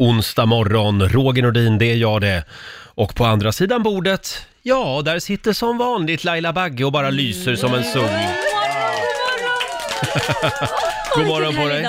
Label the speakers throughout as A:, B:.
A: onsdag morgon. Roger Nordin, det är jag det. Och på andra sidan bordet, ja, där sitter som vanligt Laila Bagge och bara lyser som en sol. God morgon på dig.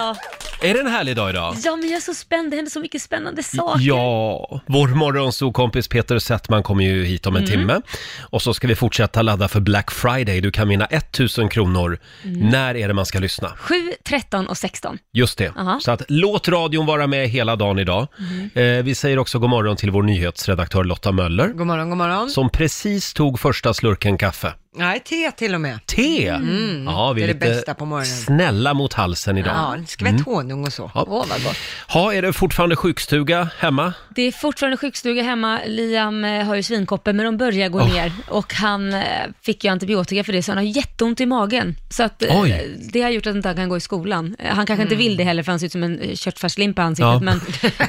A: Är det en härlig dag idag?
B: Ja, men jag är så spänd. Det händer så mycket spännande saker.
A: Ja, vår morgonsokompis Peter Settman kommer ju hit om en timme. Och så ska vi fortsätta ladda för Black Friday. Du kan vinna 1000 kronor. När är det man ska lyssna?
B: 7, 13 och 16.
A: Just det.
B: Aha.
A: Så att låt radion vara med hela dagen idag. Eh, vi säger också god morgon till vår nyhetsredaktör Lotta Möller.
C: God morgon, god morgon.
A: Som precis tog första slurken kaffe.
C: Nej, te till och med.
A: Te! Ja, vi är
C: Det är det
A: lite
C: bästa på morgonen.
A: snälla mot halsen idag.
C: Ja, Mm. en skvätt honung och så.
A: Ja.
C: Åh, vad gott.
A: Ha, är det fortfarande sjukstuga hemma?
B: Det är fortfarande sjukstuga hemma. Liam eh, har ju svinkoppor, men de börjar gå ner. Och han eh, fick ju antibiotika för det, så han har jätteont i magen. Så att, eh,
A: Oj. Mm.
B: det har gjort att inte han kan gå i skolan. Eh, Han kanske inte vill det heller, för han ser ut som en eh, köttfärslimpa i ansiktet.
A: Ja.
B: Men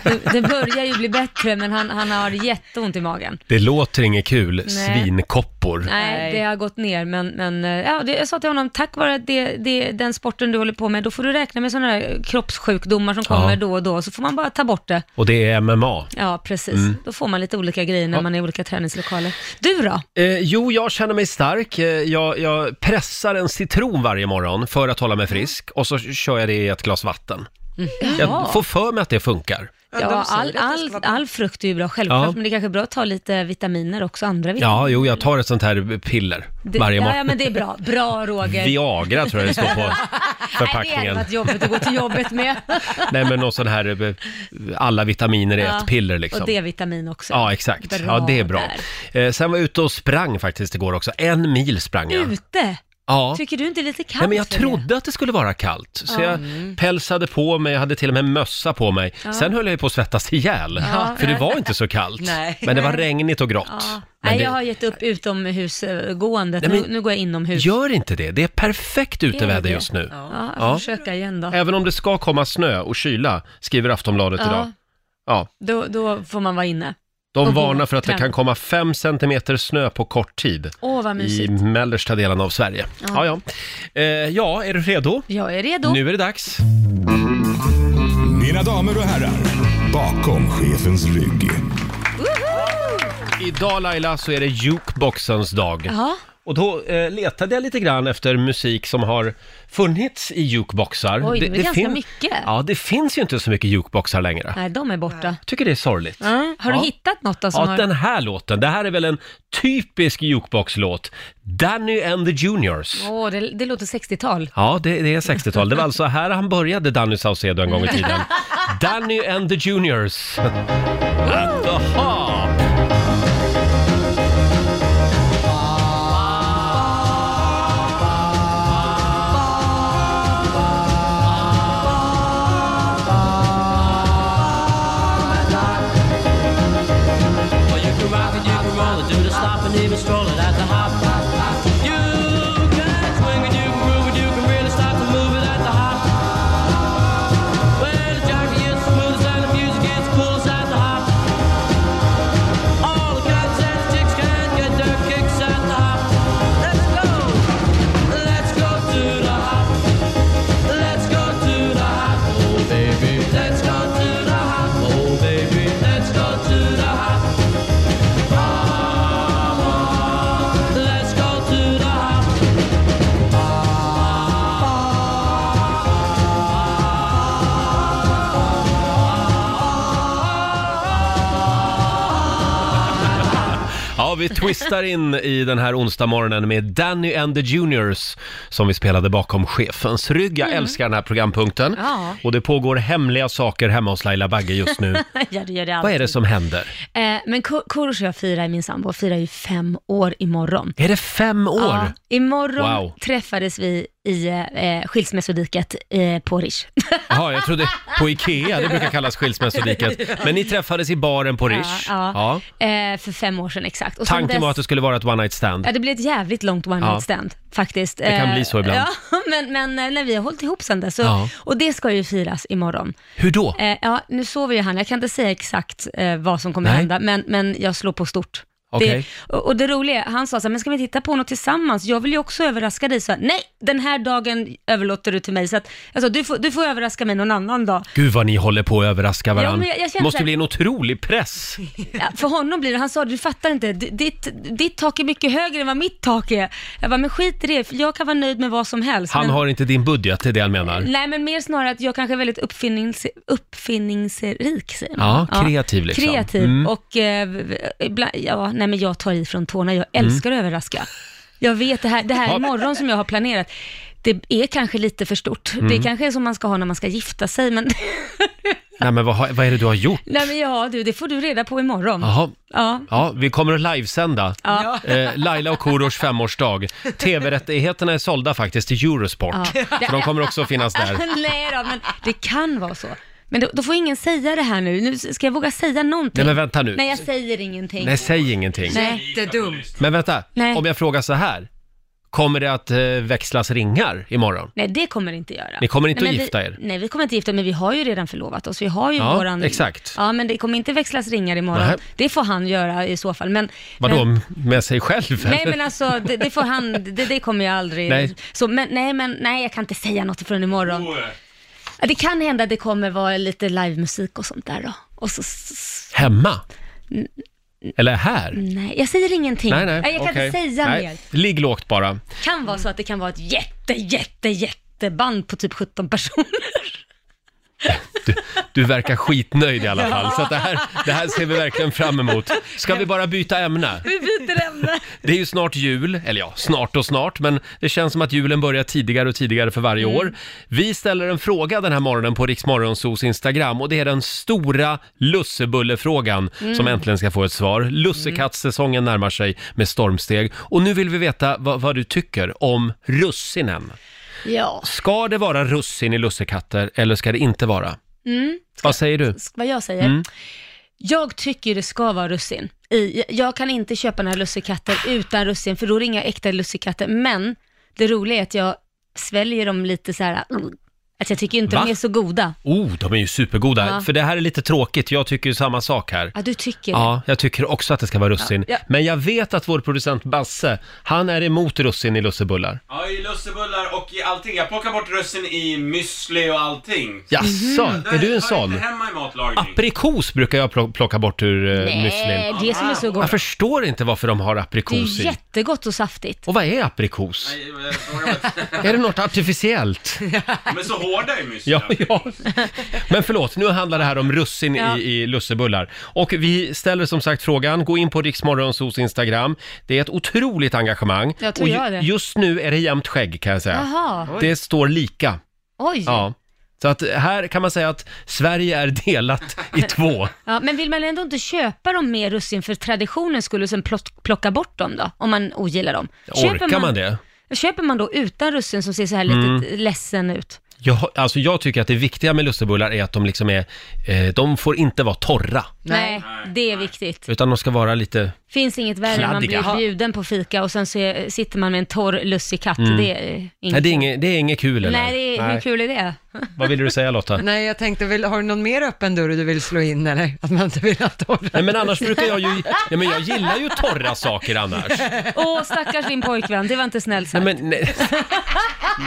B: det, det börjar ju bli bättre, men han, han har jätteont i magen.
A: Det låter inget kul. Svinkoppor.
B: Nej,
C: Nej.
B: det har gått ner, men, men eh, ja, det, jag sa till honom, tack vare det, det, den sporten du håller på med, då får du räkna med sådana här kroppssjukdomar som kommer
A: Ja.
B: då och då, så får man bara ta bort det.
A: Och det är MMA.
B: Ja, precis. Då får man lite olika grejer när
A: Ja.
B: man är i olika träningslokaler. Du då?
A: Eh, jo, jag känner mig stark. Eh, jag, jag pressar en citron varje morgon för att hålla mig frisk och så kör jag det i ett glas vatten. Jag får för mig att det funkar.
B: Ja,
C: de säger
B: all,
C: att det
B: all,
C: ska vara-
B: all frukt är ju bra, självklart,
A: Ja.
B: men det är kanske är bra att ta lite vitaminer också, andra vitaminer.
A: Ja, jo, jag tar ett sånt här piller
B: Det,
A: varje
B: ja,
A: morgon.
B: ja, men det är bra. Bra, Roger.
A: Viagra tror jag det står på
B: Nej, det hade
A: förpackningen.
B: varit jobbigt att gå till jobbet med.
A: Nej, men någon sån här eh, alla vitaminer i
B: Ja,
A: ett piller liksom.
B: Och D-vitamin också.
A: Ja, exakt.
B: Bra
A: ja, det är bra.
B: där.
A: Eh, sen var jag ute och sprang faktiskt igår också. En mil sprang jag.
B: Ute?
A: Ja.
B: Tycker du inte det är lite kallt?
A: Nej, men jag
B: för det?
A: trodde att det skulle vara kallt, så jag
C: Mm.
A: pälsade på mig, jag hade till och med mössa på mig. Sen höll jag ju på att svettas ihjäl,
B: Ja.
A: för det var inte så kallt.
C: Nej.
A: Men det var regnigt och grått.
B: Ja.
A: Men
B: Nej,
A: det,
B: jag har gett upp utomhusgåendet.
A: Nej, men-
B: nu, nu går jag inomhus.
A: Gör inte det, det är perfekt
B: Är
A: uteväder
B: det?
A: just nu.
B: Ja, jag får
A: Ja.
B: försöka igen då.
A: Även om det ska komma snö och kyla, skriver Aftonbladet idag.
B: Ja,
A: Ja,
B: då, då får man vara inne.
A: de
B: Och gå,
A: varnar för att det
B: träna.
A: kan komma 5 centimeter snö på kort tid
B: Åh, vad
A: i
B: mysigt.
A: mellersta delen av Sverige. Ja, ja. Eh, ja är du redo?
B: Jag är redo.
A: Nu är det dags.
D: Mina damer och herrar, bakom chefens rygg.
A: Idag Laila så är det jukeboxens dag.
B: Ja,
A: Och då eh, letade jag lite grann efter musik som har funnits i jukeboxar.
B: Oj, det är ganska
A: fin-
B: mycket.
A: Ja, det finns ju inte så mycket jukeboxar längre.
B: nej, de är borta.
A: Jag tycker det är sorgligt.
B: Ja. Har du
A: Ja.
B: hittat något då som
A: Ja,
B: har...
A: den här låten, det här är väl en typisk jukeboxlåt. Danny and the Juniors.
B: Åh, det, det låter 60-tal.
A: Ja, det, det är 60-tal. Det var alltså här han började, Danny Saucedo, en gång i tiden. Danny and the Juniors. At the hop.
E: Well, you can rock and you can roll and do the stop and even stroll it at the hop. You can swing and you can groove and you can really start to move it at the hop. Well, the jockey is the smoothest and the music is the coolest at the hop. All the cats and the chicks can get their kicks at the hop. Let's go, let's go to the hop. Let's go to the hop, oh baby. Let's go to the hop, oh baby. Let's go to the hop. Let's go to the hop.
A: Ja, vi twistar in i den här onsdagsmorgonen med Danny and the Juniors som vi spelade bakom chefens rygg. Jag älskar den här programpunkten.
B: Mm. Ja.
A: Och det pågår hemliga saker hemma hos Laila Bagge just nu.
B: ja, det gör det alltid.
A: Vad är det som händer?
B: Eh, men Ko- Korosh och jag firar, min sambo, firar ju fem år imorgon.
A: Är det fem år?
B: Ja, imorgon
A: Wow.
B: träffades vi i eh, skilsmässodiket eh, på Rish.
A: Jaha, jag trodde på Ikea, det brukar kallas skilsmässodiket. Men ni träffades i baren på Rish.
B: Ja, ja. Eh, för fem år sedan exakt. Och sen
A: Tanken var
B: dess-
A: att det skulle vara ett one night stand.
B: Ja, det blev ett jävligt långt one night
A: Ja.
B: stand faktiskt. Eh,
A: Det kan bli så ibland.
B: Ja, men, men eh, när vi har hållit ihop sen dess. Så,
A: Ja.
B: Och det ska ju firas imorgon.
A: Hur då?
B: Eh, ja, nu sover ju han. Jag kan inte säga exakt eh, vad som kommer
A: Nej.
B: hända, men, men jag slår på stort.
A: Okej.
B: Det, och, och det roliga, är, han sa så här, men ska vi titta på något tillsammans? Jag vill ju också överraska dig. Så här, Nej, den här dagen överlåter du till mig. Så att, alltså, du, får, du får överraska mig någon annan dag.
A: Gud vad ni håller på att överraska
B: Ja,
A: varandra.
B: men jag- jag känner så
A: Måste
B: här-
A: bli en otrolig press.
B: Ja, för honom blir det, han sa du fattar inte, D- ditt, ditt tak är mycket högre än vad mitt tak är. Jag bara, men skit i det, för jag kan vara nöjd med vad som helst.
A: Han
B: men,
A: har inte din budget, det är det han menar.
B: Nej, men mer snarare att jag kanske är väldigt uppfinnings, uppfinningsrik, säger man.
A: Ja, kreativ liksom.
B: Kreativ
A: Mm.
B: och eh, ibland, ja, nej men jag tar i från tårna, jag
A: Mm.
B: älskar att överraska. Jag vet det här, det här imorgon som jag har planerat, det är kanske lite för stort.
A: Mm.
B: Det kanske är som man ska ha när man ska gifta sig, men
A: Nej men vad, har- vad är det du har gjort?
B: nej men ja du, det får du reda på imorgon.
A: Jaha.
B: Ja,
A: Ja, vi kommer att livesända.
B: Ja.
A: Eh, Laila och Korosh femårsdag. TV-rättigheterna är sålda faktiskt till Eurosport.
B: Ja.
A: Så de kommer också att finnas där.
B: Nej då, men det kan vara så. Men då, då får ingen säga det här nu. Nu ska jag våga säga någonting.
A: Nej men vänta nu.
B: Nej, jag säger ingenting.
A: Nej, säg ingenting.
B: Nej.
C: Jättedumt.
A: Men vänta,
B: Nej.
A: om jag frågar så här. Kommer det att eh, växlas ringar imorgon?
B: Nej, det kommer det inte göra.
A: Ni kommer inte
B: nej,
A: att
B: men
A: gifta
B: vi,
A: er?
B: Nej, vi kommer inte gifta oss, men vi har ju redan förlovat oss. Vi har ju
A: Ja,
B: våran...
A: exakt.
B: Ja, men det kommer inte växlas ringar imorgon.
A: Nej.
B: Det får han göra i så fall. Men,
A: Vadå,
B: men,
A: m- med sig själv?
B: Nej,
A: eller?
B: men alltså det, det får han... Det, det kommer jag aldrig...
A: Nej.
B: Så, men, nej, men nej, jag kan inte säga något förrän imorgon. Ja, Det kan hända att det kommer vara lite livemusik och sånt där då. Och så s-
A: Hemma? Eller här?
B: Nej, jag säger ingenting.
A: Nej, nej.
B: jag kan
A: okej.
B: inte säga
A: Nej,
B: mer.
A: Ligg lågt bara.
B: Kan vara så att det kan vara ett jätte, jätte, jätteband på typ 17 personer.
A: Du, du verkar skitnöjd i alla fall, så att det, här, det här ser vi verkligen fram emot. Ska vi bara byta ämne?
B: Vi byter ämne.
A: Det är ju snart jul, eller ja, snart och snart, men det känns som att julen börjar tidigare och tidigare för varje
B: Mm.
A: år. Vi ställer en fråga den här morgonen på Riksmorgonsos Instagram och det är den stora lussebullefrågan
B: Mm.
A: som äntligen ska få ett svar. Lussekattsäsongen närmar sig med stormsteg och nu vill vi veta vad, vad du tycker om russinen.
B: Ja.
A: Ska det vara russin i lussekatter eller ska det inte vara?
B: Mm.
A: Vad säger du?
B: Sk- Vad jag säger.
A: Mm.
B: Jag tycker det ska vara russin. I, jag kan inte köpa några lussekatter utan russin, för då är det inga äkta lussekatter. Men det roliga är att jag sväljer dem lite så här, mm, att jag tycker inte
A: Va?
B: de är så goda.
A: Oh, de är ju supergoda,
B: Ja.
A: för det här är lite tråkigt. Jag tycker ju samma sak här.
B: Ja, du tycker det.
A: Ja, jag tycker också att det ska vara russin.
B: Ja.
A: Men jag vet att vår producent Basse, han är emot russin i lussebullar.
F: Ja, i lussebullar och i allting. Jag plockar bort rösten i müsli och allting.
A: Jaså,
B: Mhm.
A: är du en sån?
F: inte hemma i matlagning.
A: Aprikos brukar jag plo- plocka bort ur uh,
B: Nej,
A: müslin.
B: det som är så
A: Jag
B: gott.
A: förstår inte varför de har
B: Det är
A: aprikos
B: ju
A: i.
B: jättegott och saftigt.
A: Och vad är aprikos?
F: Nej, jag frågar mig.
A: Är det något artificiellt?
F: De är så hårda i müsli.
A: Ja, ja. Men förlåt, nu handlar det här om russin
B: Ja.
A: i, i lussebullar. Och vi ställer som sagt frågan, gå in på Riksmorgonsos Instagram. Det är ett otroligt engagemang.
B: Jag tror
A: och
B: jag det.
A: just nu är det jämnt skägg kan jag säga.
B: Jaha,
A: Det står lika.
B: oj.
A: Ja. Så att här kan man säga att Sverige är delat i två.
B: Ja, men vill man ändå inte köpa dem med russin för traditionen skulle sen plott- plocka bort dem då, om man ogillar dem?
A: Orkar man, det? Mm.
B: Köper man då utan russin som ser så här lite ledsen ut?
A: Jag, alltså jag tycker att det viktiga med lussebullar är att de liksom är, eh, de får inte vara torra,
B: Nej, det är viktigt.
A: utan de ska vara lite,
B: Finns inget värre än man
A: Kladdiga.
B: blir bjuden på fika och sen så är, sitter man med en torr lussekatt. Det är inget.
A: nej det är inget, Mm. det är inget kul eller?
B: Nej, det är, hur kul är det?
A: Vad ville du säga Lotta?
C: Nej, jag tänkte, vill, har du någon mer öppen dörr du vill slå in eller? Att man inte vill ha torra?
A: Nej men annars brukar jag ju, ja, men jag gillar ju torra saker annars.
B: Åh, stackars din pojkvän, det var inte snällt
A: Nej
B: sagt.
A: men, nej,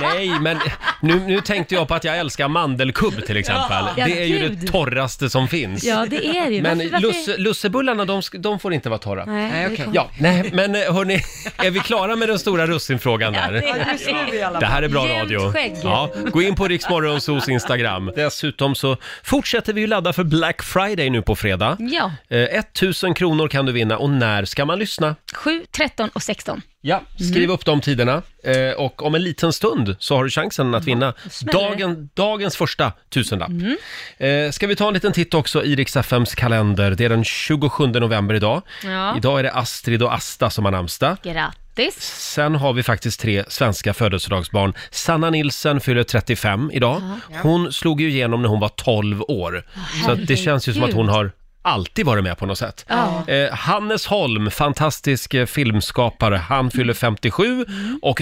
A: nej, men nu, nu tänkte jag på att jag älskar mandelkubb till exempel.
B: Ja,
A: Det är ju det
B: gud.
A: torraste som finns.
B: Ja, det är det ju.
A: Men
B: Varför- varför-
A: lusse, lussebullarna, de, sk- de får inte vara torra.
B: Nej,
C: Nej,
B: det
C: okej.
B: kom-
A: Ja, nej, men eh, hörni, är vi klara med den stora russinfrågan där?
C: Just nu i alla
A: Det
C: fall.
A: här är bra
B: Jämnt
A: radio.
B: skägg.
A: Ja, gå in på Riksmorgonsos Instagram. Dessutom så fortsätter vi ju ladda för Black Friday nu på fredag.
B: Ja,
A: Eh, 1000 kronor kan du vinna och när ska man lyssna?
B: 7, 13 och 16.
A: Ja, skriv upp de tiderna eh, och om en liten stund så har du chansen att vinna
B: smäller det.
A: dagen, dagens första tusenlapp. Eh, ska vi ta en liten titt också i Rix FMs kalender. Det är den 27 november idag.
B: Ja.
A: Idag är det Astrid och Asta som har namnsdag.
B: Grattis.
A: Sen har vi faktiskt tre svenska födelsedagsbarn. Sanna Nilsen fyller 35 idag. Hon slog ju igenom när hon var 12 år. så att det känns ju som att hon har alltid varit med på något sätt.
B: Ja.
A: Eh, Hannes Holm, fantastisk eh, filmskapare, han
B: Mm.
A: fyller 57 och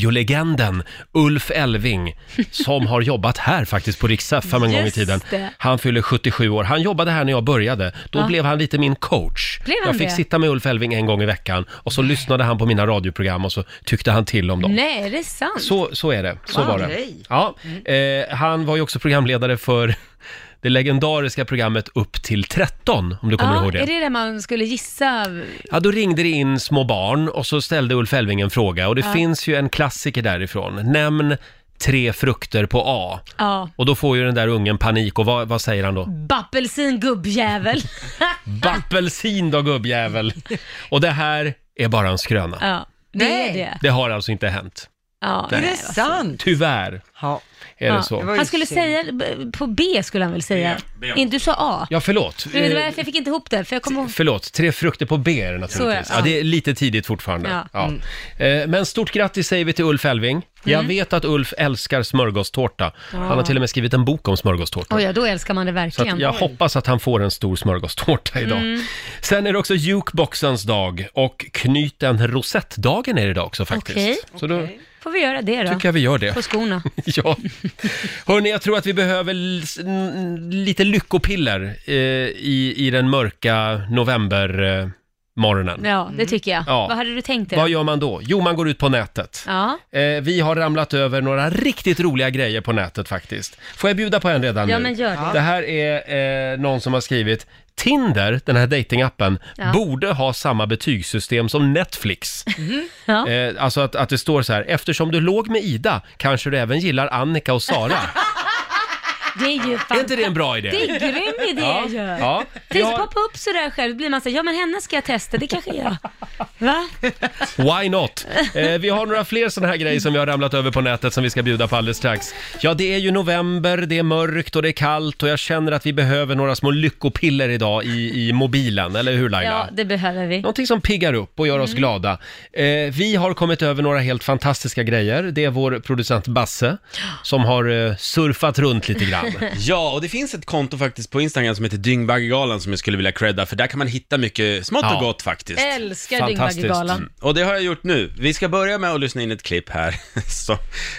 A: radiolegenden Ulf Elving som har jobbat här faktiskt på Rix FM en gång i
B: Just
A: tiden.
B: det.
A: Han fyller 77 år. Han jobbade här när jag började. Då
B: Ja.
A: blev han lite min coach.
B: Blev han
A: jag fick
B: det?
A: sitta med Ulf Elving en gång i veckan och så lyssnade han på mina radioprogram och så tyckte han till om dem.
B: Nej, det är sant.
A: Så, så är det. Så
C: Wow.
A: var det.
C: Grej.
A: Ja, eh, han var ju också programledare för det legendariska programmet Upp till 13, om du kommer
B: ja,
A: ihåg
B: Ah, Är det där man skulle gissa?
A: Ja, då ringde det in små barn och så ställde Ulf Elving en fråga och det finns ju en klassiker därifrån. Nämn tre frukter på A.
B: Ja.
A: Och då får ju den där ungen panik och vad, vad säger han då?
B: Bappelsin gubbjävel.
A: Bappelsin då gubbjävel! Och det här är bara en skröna.
B: ja, det
C: Nej.
B: är det.
A: Det har alltså inte hänt.
B: Ja,
C: Är
B: nej,
C: det
B: vad-
C: sant?
A: Tyvärr
C: Ja.
A: är det
B: Ja.
A: så.
C: Det var ju
B: Han skulle
C: synd.
B: säga, b- på B skulle han väl säga?
F: B, B.
B: Inte du sa A.
A: Ja, förlåt.
B: Du, det var
A: Eh,
B: därför jag fick inte ihop det, för jag kommer ihåg...
A: Förlåt, tre frukter på B
B: Så
A: är det
B: är det,
A: naturligtvis.
B: ja.
A: Ja, det är lite tidigt fortfarande. Ja.
B: Ja. Mm.
A: Eh, Men stort grattis säger vi till Ulf Elving. Jag vet att Ulf älskar smörgåstårta. Han har till och med skrivit en bok om smörgåstårta.
B: Oj, ja, då älskar man det
A: Så att
B: verkligen.
A: jag hoppas att han får en stor smörgåstårta idag.
B: Mm.
A: Sen är det också jukeboxens dag och knyt en rosettdagen är det idag också faktiskt.
B: Okej.
A: Så då
B: Får vi göra det då?
A: tycker jag vi gör det.
B: På skorna.
A: Ja. Hörni, jag tror att vi behöver l- s- n- lite lyckopiller eh, i, i den mörka novembermorgonen. Eh, morgonen.
B: Ja, det tycker jag.
A: Mm. Ja.
B: Vad hade du tänkt dig?
A: Vad gör man då? Jo, man går ut på nätet.
B: Ja,
A: Eh, vi har ramlat över några riktigt roliga grejer på nätet faktiskt. Får jag bjuda på en redan
B: ja
A: nu?
B: men gör det.
A: Det här är eh, någon som har skrivit Tinder, den här datingappen,
B: Ja.
A: borde ha samma betygssystem som Netflix.
B: Mhm. Ja.
A: Eh, alltså att, att det står så här, eftersom du låg med Ida kanske du även gillar Annika och Sara.
B: Det är ju fan...
A: är inte det en bra idé?
B: Det är en grym idé
A: Ja,
B: ju.
A: ja. Vi
B: Tänk
A: har-
B: så poppa upp sådär själv, då blir man såhär, ja men henne ska jag testa, det kanske jag. Va?
A: Why not? Eh, vi har några fler sådana här grejer som vi har ramlat över på nätet som vi ska bjuda på alldeles strax. Ja, det är ju november, det är mörkt och det är kallt och jag känner att vi behöver några små lyckopiller idag i, i mobilen, eller hur Laila?
B: Ja, Mm. det behöver vi.
A: Någonting som piggar upp och gör oss glada. Eh, vi har kommit över några helt fantastiska grejer. Det är vår producent Basse som har eh, surfat runt lite grann.
F: Ja, och det finns ett konto faktiskt på Instagram som heter Dyngbaggegalan som jag skulle vilja credda, för där kan man hitta mycket smått
A: Ja.
F: och gott faktiskt. Mm.
B: Älskar
A: Fantastiskt.
B: Dyngbaggegalan.
F: Och det har jag gjort nu. Vi ska börja med att lyssna in ett klipp här som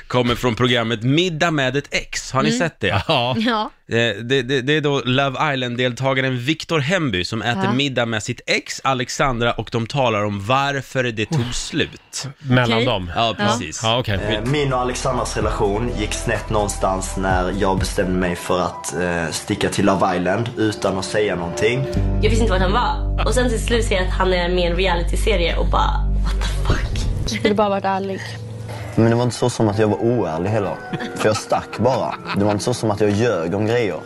F: kommer från programmet Middag med ett ex. Har ni sett det?
A: Mm. Ja,
B: Ja.
F: Eh, Det, det, det är då Love Island-deltagaren Victor Hemby som äter
B: Ja.
F: middag med sitt ex Alexandra och de talar om varför det tog slut.
A: mellan
B: Okej.
A: dem.
F: Ja, precis.
A: Oh. Mm. Ja, okej.
G: Eh, Min och Alexandras relation gick snett någonstans när jag bestämde mig för att eh, sticka till Love Island utan att säga någonting.
H: Jag visste inte vart han var. Och sen till slut ser jag att han är med i en realityserie och bara what the fuck.
I: skulle bara varit ärlig.
G: Men det var inte så som att jag var oärlig heller. För jag stack bara. Det var inte så som att jag ljög om grejer.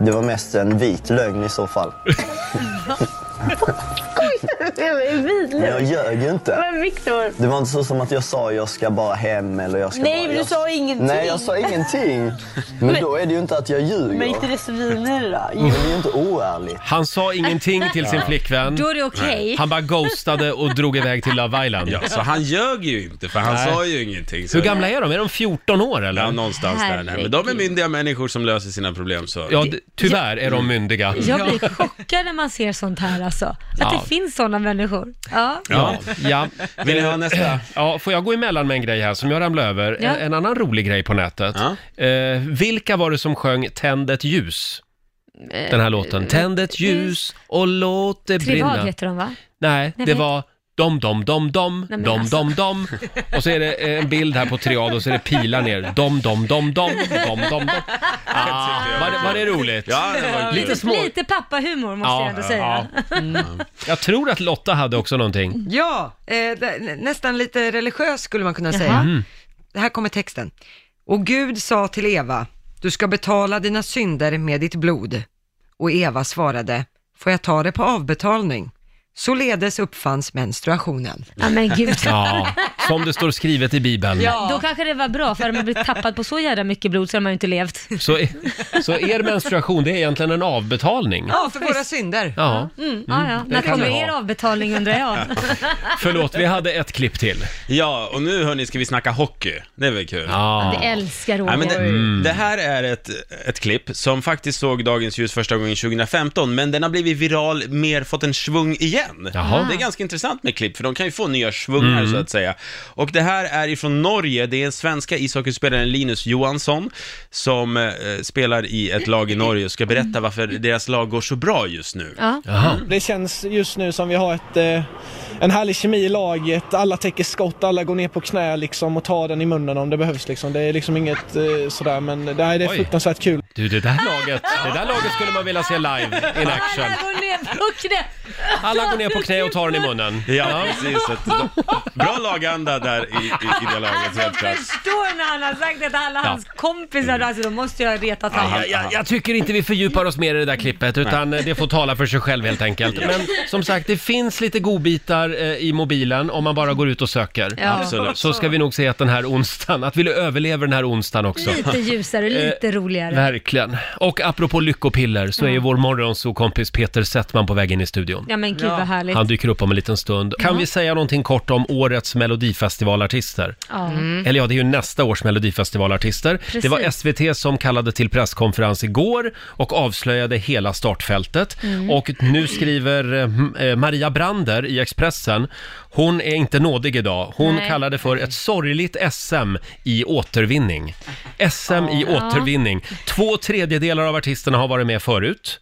G: Det var mest en vit lögn i så fall.
I: Det är
G: Men
I: vidrigt.
G: jag ljög ju inte.
I: Men Viktor.
G: Det var inte så som att jag sa jag ska bara hem eller jag ska
I: Nej,
G: bara...
I: men du
G: jag-
I: sa ingenting.
G: Nej, jag sa ingenting. Men då är det ju inte att jag ljuger.
I: Men
G: Men
I: inte det svinare då? Jo.
G: det är ju inte oärligt.
A: Han sa ingenting till sin flickvän.
B: Då är det okej.
A: Han bara ghostade och drog iväg till Love Island.
F: Ja, så han ljög ju inte, för han
A: Nej.
F: sa ju ingenting. Så
A: Hur gamla är de? Är de 14 år eller?
F: Ja, någonstans där. Nej, men de är
B: Herregud.
F: myndiga människor som löser sina problem så.
A: Ja, d- tyvärr är de myndiga.
B: Jag blir chockad när man ser sånt här alltså. Att
A: Ja.
B: det finns sådana människor. Ja.
A: Ja, ja.
F: Vill ni ha nästa?
A: ja, får jag gå emellan med en grej här som jag ramlade över?
B: Ja.
A: En, en annan rolig grej på nätet. Eh, vilka var det som sjöng Tänd ett ljus? Den här låten. Tänd ett Eh, ljus och låt det
B: Trivad
A: brinna.
B: heter de va?
A: Nej,
B: Nej,
A: det
B: vad
A: var dom, dom, dom, dom,
B: men
A: dom,
B: alltså.
A: dom, dom. Och så är det eh, en bild här på Triad och så är det pilar ner. Dom, dom, dom, dom, dom, dom, dom. Ah, var, det, var det roligt?
F: Ja, det var kul.
A: Lite små...
B: Lite pappahumor måste jag ändå säga.
F: Mm.
A: Jag tror att Lotta hade också någonting.
C: Ja, eh, det- nä- nästan lite religiös skulle man kunna säga.
A: Mm.
C: Det här kommer texten. Och Gud sa till Eva, du ska betala dina synder med ditt blod. Och Eva svarade, får jag ta det på avbetalning? Således uppfanns menstruationen.
B: Ja men gud.
A: Ja, som det står skrivet i Bibeln.
B: Då kanske det var bra, för hade man blivit tappad på så jävla mycket blod så hade man ju inte levt.
A: Så, e- så er menstruation, det är egentligen en avbetalning.
C: Ja, för våra synder.
A: Ja,
B: Mm, ja, ja. När
A: kan
B: kommer
A: det
B: er
A: vara.
B: avbetalning undrar jag.
A: förlåt, vi hade ett klipp till.
F: Ja, och nu hörni ska vi snacka hockey. Det är väl kul?
A: Ja.
B: Det älskar Roger.
F: Nej, men det,
A: mm,
F: Mm. det här är ett, ett klipp som faktiskt såg dagens ljus första gången 2015, men den har blivit viral, mer fått en svung igen.
A: Jaha.
F: Det är ganska intressant med klipp, för de kan ju få nya svungar så att säga. Och det här är ifrån Norge, det är svenska ishockeyspelaren Linus Johansson som eh, spelar i ett lag i Norge och ska berätta varför deras lag går så bra just nu.
B: Ja.
A: Jaha.
J: Det känns just nu som vi har ett, eh, en härlig kemi i laget. Alla täcker skott, alla går ner på knä liksom och tar den i munnen om det behövs. Liksom. Det är liksom inget eh, sådär, men det, nej, det är
A: Oj.
J: fruktansvärt kul.
A: Du, det där laget, det där laget skulle man vilja se live in action.
B: Alla går ner på knä.
A: Alla går ner på knä och tar den i munnen.
F: Ja, precis. Så Att de, bra laganda där i, i, i det laget,
B: Alltså
F: helt klart.
B: förstår när han har sagt det till alla
A: Ja. Mm.
B: hans kompisar, alltså då måste jag reta honom.
A: Jag, jag, jag tycker inte vi fördjupar oss mer i det där klippet utan eh, det får tala för sig själv helt enkelt. Men som sagt, det finns lite godbitar eh, i mobilen om man bara går ut och söker.
B: Ja.
F: Absolut.
A: Så ska vi nog se att den här onsdagen, att vi överlever den här onsdagen också.
B: Lite ljusare,
A: Eh,
B: lite roligare.
A: Verkligen. Och apropå lyckopiller så är ju vår morgonsokompis Peter Settman på väg in i studion.
B: Ja men gud vad härligt.
A: Han dyker upp om en liten stund. Kan vi säga någonting kort om årets melodifestivalartister?
B: Ja.
A: Eller ja, det är ju nästa års melodifestivalartister. Det var
B: Mm. Precis.
A: SVT som kallade till presskonferens igår och avslöjade hela startfältet.
B: Mm.
A: Och nu skriver eh, m- eh, Maria Brander i Expressen, hon är inte nådig idag. Hon
B: Nej.
A: kallade för ett sorgligt SM i återvinning. SM i återvinning. Två tredjedelar av artisterna har varit med förut.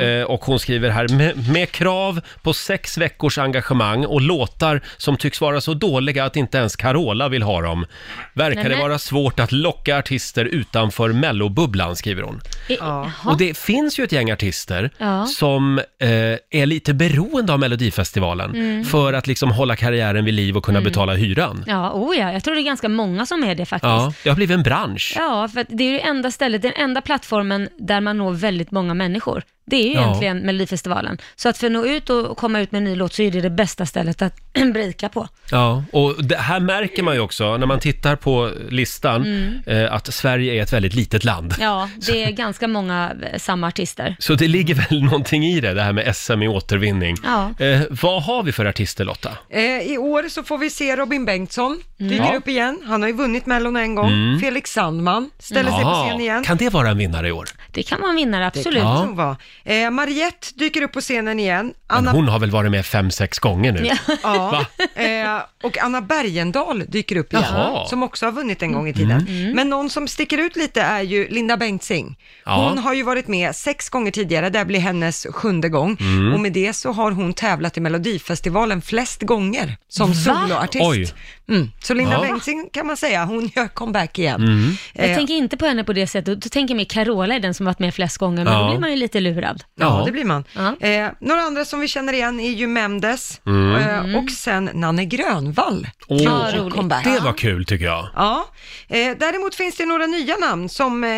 A: Eh, Och hon skriver här, "Med- med krav på sex veckors engagemang och låtar som tycks vara så dåliga att inte ens Carola vill ha dem, verkar det
B: Nämen.
A: vara svårt att locka artister utanför mellobubblan, skriver hon.
B: I- Eh, Jaha.
A: Och det finns ju ett gäng artister
B: Ja.
A: som eh, är lite beroende av Melodifestivalen
B: Mm.
A: för att liksom hålla karriären vid liv och kunna betala hyran.
B: Ja, oh ja, jag tror det är ganska många som är det faktiskt.
A: Ja, det har blivit en bransch.
B: Ja, för att det är ju enda stället, den enda plattformen där man når väldigt många människor. Det är ju
A: Ja.
B: egentligen Melodifestivalen. Så att för att nå ut och komma ut med en ny låt så är det det bästa stället att breaka på.
A: Ja, och det här märker man ju också när man tittar på listan eh, att Sverige är ett väldigt litet land.
B: Mm. Ja, det är ganska många eh, samma artister.
A: Så det ligger väl någonting i det, det här med SM i återvinning.
B: Ja.
A: Eh, vad har vi för artister Lotta?
C: Eh, I år så får vi se Robin Bengtsson, dyker
A: Mm. Ja. Mm.
C: upp igen. Han har ju vunnit Mellon en gång. Felix Sandman ställer sig på scen igen.
A: kan det vara en vinnare i år?
B: Det kan vara en vinnare, absolut.
A: Ja.
C: Hon var. Eh, Mariette dyker upp på scenen igen.
A: Men
C: Anna,
A: hon har väl varit med fem, sex gånger nu?
C: ja, eh, och Anna Bergendahl dyker upp igen,
A: Jaha. Mm.
C: som också har vunnit en gång i tiden. Men någon som sticker ut lite är ju Linda Bengtzing.
A: Ja.
C: Hon har ju varit med sex gånger tidigare, det här blir hennes sjunde gång.
A: Mm.
C: Och med det så har hon tävlat i Melodifestivalen flest gånger som soloartist.
A: Oj.
C: Mm. Så Linda
A: Ja. Mm.
C: Bengtzing kan man säga, hon gör comeback igen.
B: Jag
C: Eh,
B: tänker inte på henne på det sättet. Då tänker jag mer Carola är den som varit med flest gånger, men
A: Ja.
B: då blir man ju lite lurad.
C: Ja,
A: Ja.
C: det blir man.
B: Ja.
C: Eh, några andra som vi känner igen är ju Mendes
A: Mm.
C: eh, och sen Nanne Grönvall.
A: Åh,
B: Ja, roligt.
C: comeback.
A: det var kul tycker jag.
C: Ja, eh, däremot finns det några nya namn som eh,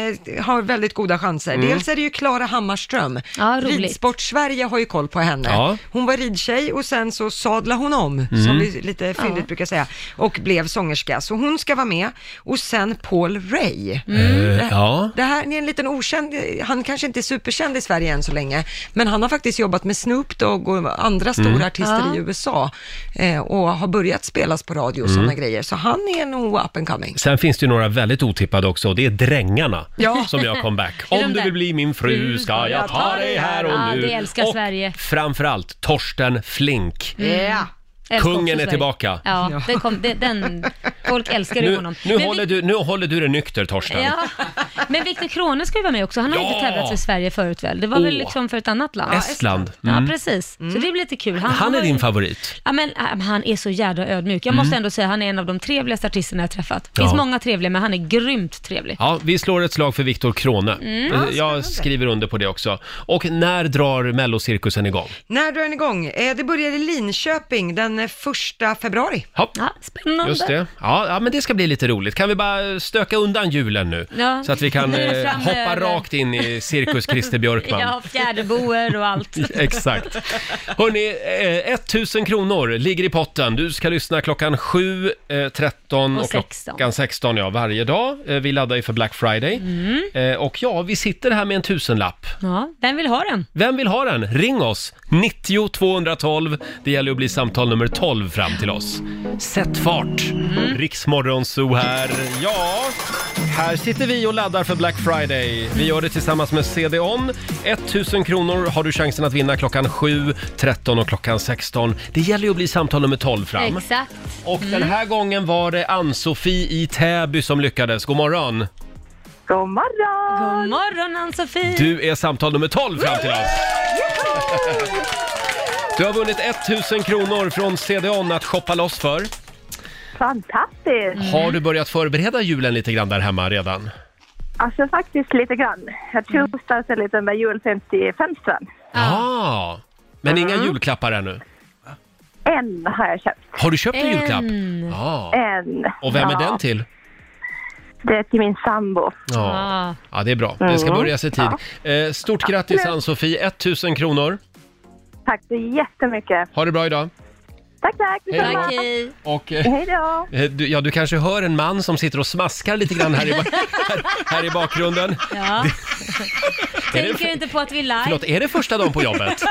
C: har väldigt goda chanser. Dels är det ju Klara Hammarström.
B: Ja, roligt.
C: Ridsport-Sverige har ju koll på henne.
A: Ja.
C: Hon var ridtjej och sen så sadlade hon om, som vi lite fyndigt brukar säga, och blev sångerska. Så hon ska vara med. Och sen Paul Ray.
B: Mm.
A: Eh, ja.
C: Det här är en liten okänd, han kanske inte är superkänd i Sverige än så länge, men han har faktiskt jobbat med Snoop Dogg och andra stora artister
B: Ja.
C: i USA eh, och har börjat spelas på radio och sådana grejer. Så han är nog up and coming.
A: Sen finns det ju några väldigt otippade också, och det är Drängarna
C: Ja.
A: som gör comeback.
B: Är de
A: Om
B: där?
A: du
B: Mm.
A: vill bli min fru
B: Fru
A: ska jag ta dig här och
B: Ja,
A: nu.
B: det älskar
A: och
B: Sverige.
A: framförallt Torsten Flink.
C: Yeah.
B: Älskar
A: Kungen
B: också
A: är
B: Sverige.
A: tillbaka.
B: Ja, det kom, det, den, folk älskar ju
A: Nu,
B: honom.
A: nu,
B: Men vi-
A: håller du, nu håller du dig nykter Torsten.
B: Ja. Men Viktor Krone ska ju vara med också. Han har
A: Ja.
B: inte tävlat för Sverige förut väl? Det var väl
A: Åh.
B: liksom för ett annat land?
A: Estland. Mm.
B: Ja, precis. Så det blir lite kul.
A: Han är
B: har ju-
A: din favorit. Mm.
B: Ja, men, äh, han är så jädra ödmjuk. Jag måste ändå säga han är en av de trevligaste artisterna jag träffat. Det finns
A: Ja.
B: många trevliga, men han är grymt trevlig.
A: Ja, vi slår ett slag för Viktor Krone.
B: Mm,
A: Eh, Jag skriver under på det också. Och när drar Mellocirkusen igång?
C: När drar den igång? Eh, Det börjar i Linköping den den eh, första februari.
A: Hopp.
B: Ja, spännande.
A: Just det. Ja, ja, men det ska bli lite roligt. Kan vi bara stöka undan julen nu?
B: Ja.
A: Så att vi kan
B: Nu är det
A: eh,
B: framöver.
A: hoppa rakt in i cirkus Christer Björkman.
B: Ja, fjäderboer och allt.
A: Exakt. Hörni, eh, 1000 kronor ligger i potten. Du ska lyssna klockan 7, eh, 13 och,
B: Och 16.
A: klockan 16 ja, varje dag. Eh, Vi laddar ju för Black Friday. Eh, Och ja, vi sitter här med en tusenlapp.
B: Ja, vem vill ha den?
A: Vem vill ha den? Ring oss! 90 212. Det gäller att bli samtal nummer 12 fram till oss. Sätt fart! Riksmorgonzoo här. Ja, här sitter vi och laddar för Black Friday. Vi gör det tillsammans med CDON. 1000 kronor har du chansen att vinna klockan 7, 13 och klockan 16. Det gäller ju att bli samtal nummer 12 fram.
B: Exakt.
A: Och den här gången var det Ann-Sofie i Täby som lyckades. God morgon!
B: God morgon! God morgon Ann-Sofie!
A: Du är samtal nummer 12 fram till oss. Du har vunnit 1000 kronor från CDON att shoppa loss för.
K: Mhm. Fantastiskt!
A: Har du börjat förbereda julen lite grann där hemma redan?
K: Alltså faktiskt lite grann. Jag tjuvstartar lite med julfönstret i fönstren.
A: Ja. Ah, men inga julklappar ännu?
K: En har jag köpt.
A: Har du köpt en julklapp?
K: En.
A: Ja.
K: En.
A: Och vem är
K: Ja,
A: den till?
K: Det är till min sambo.
A: Ja. ja, det är bra. Det ska
K: Mm.
A: börja sig tid. Eh, Stort grattis Ann-Sofie, 1000 kronor.
K: Tack så jättemycket.
A: Ha det bra idag.
K: Tack, tack.
A: Hej då.
K: detsamma.
A: Och, eh,
K: Hej då.
A: eh, du, ja, du kanske hör en man som sitter och smaskar lite grann här i, ba- här, här i bakgrunden.
B: Ja. Tänker inte på att vi är live.
A: Förlåt, är det första dagen på jobbet?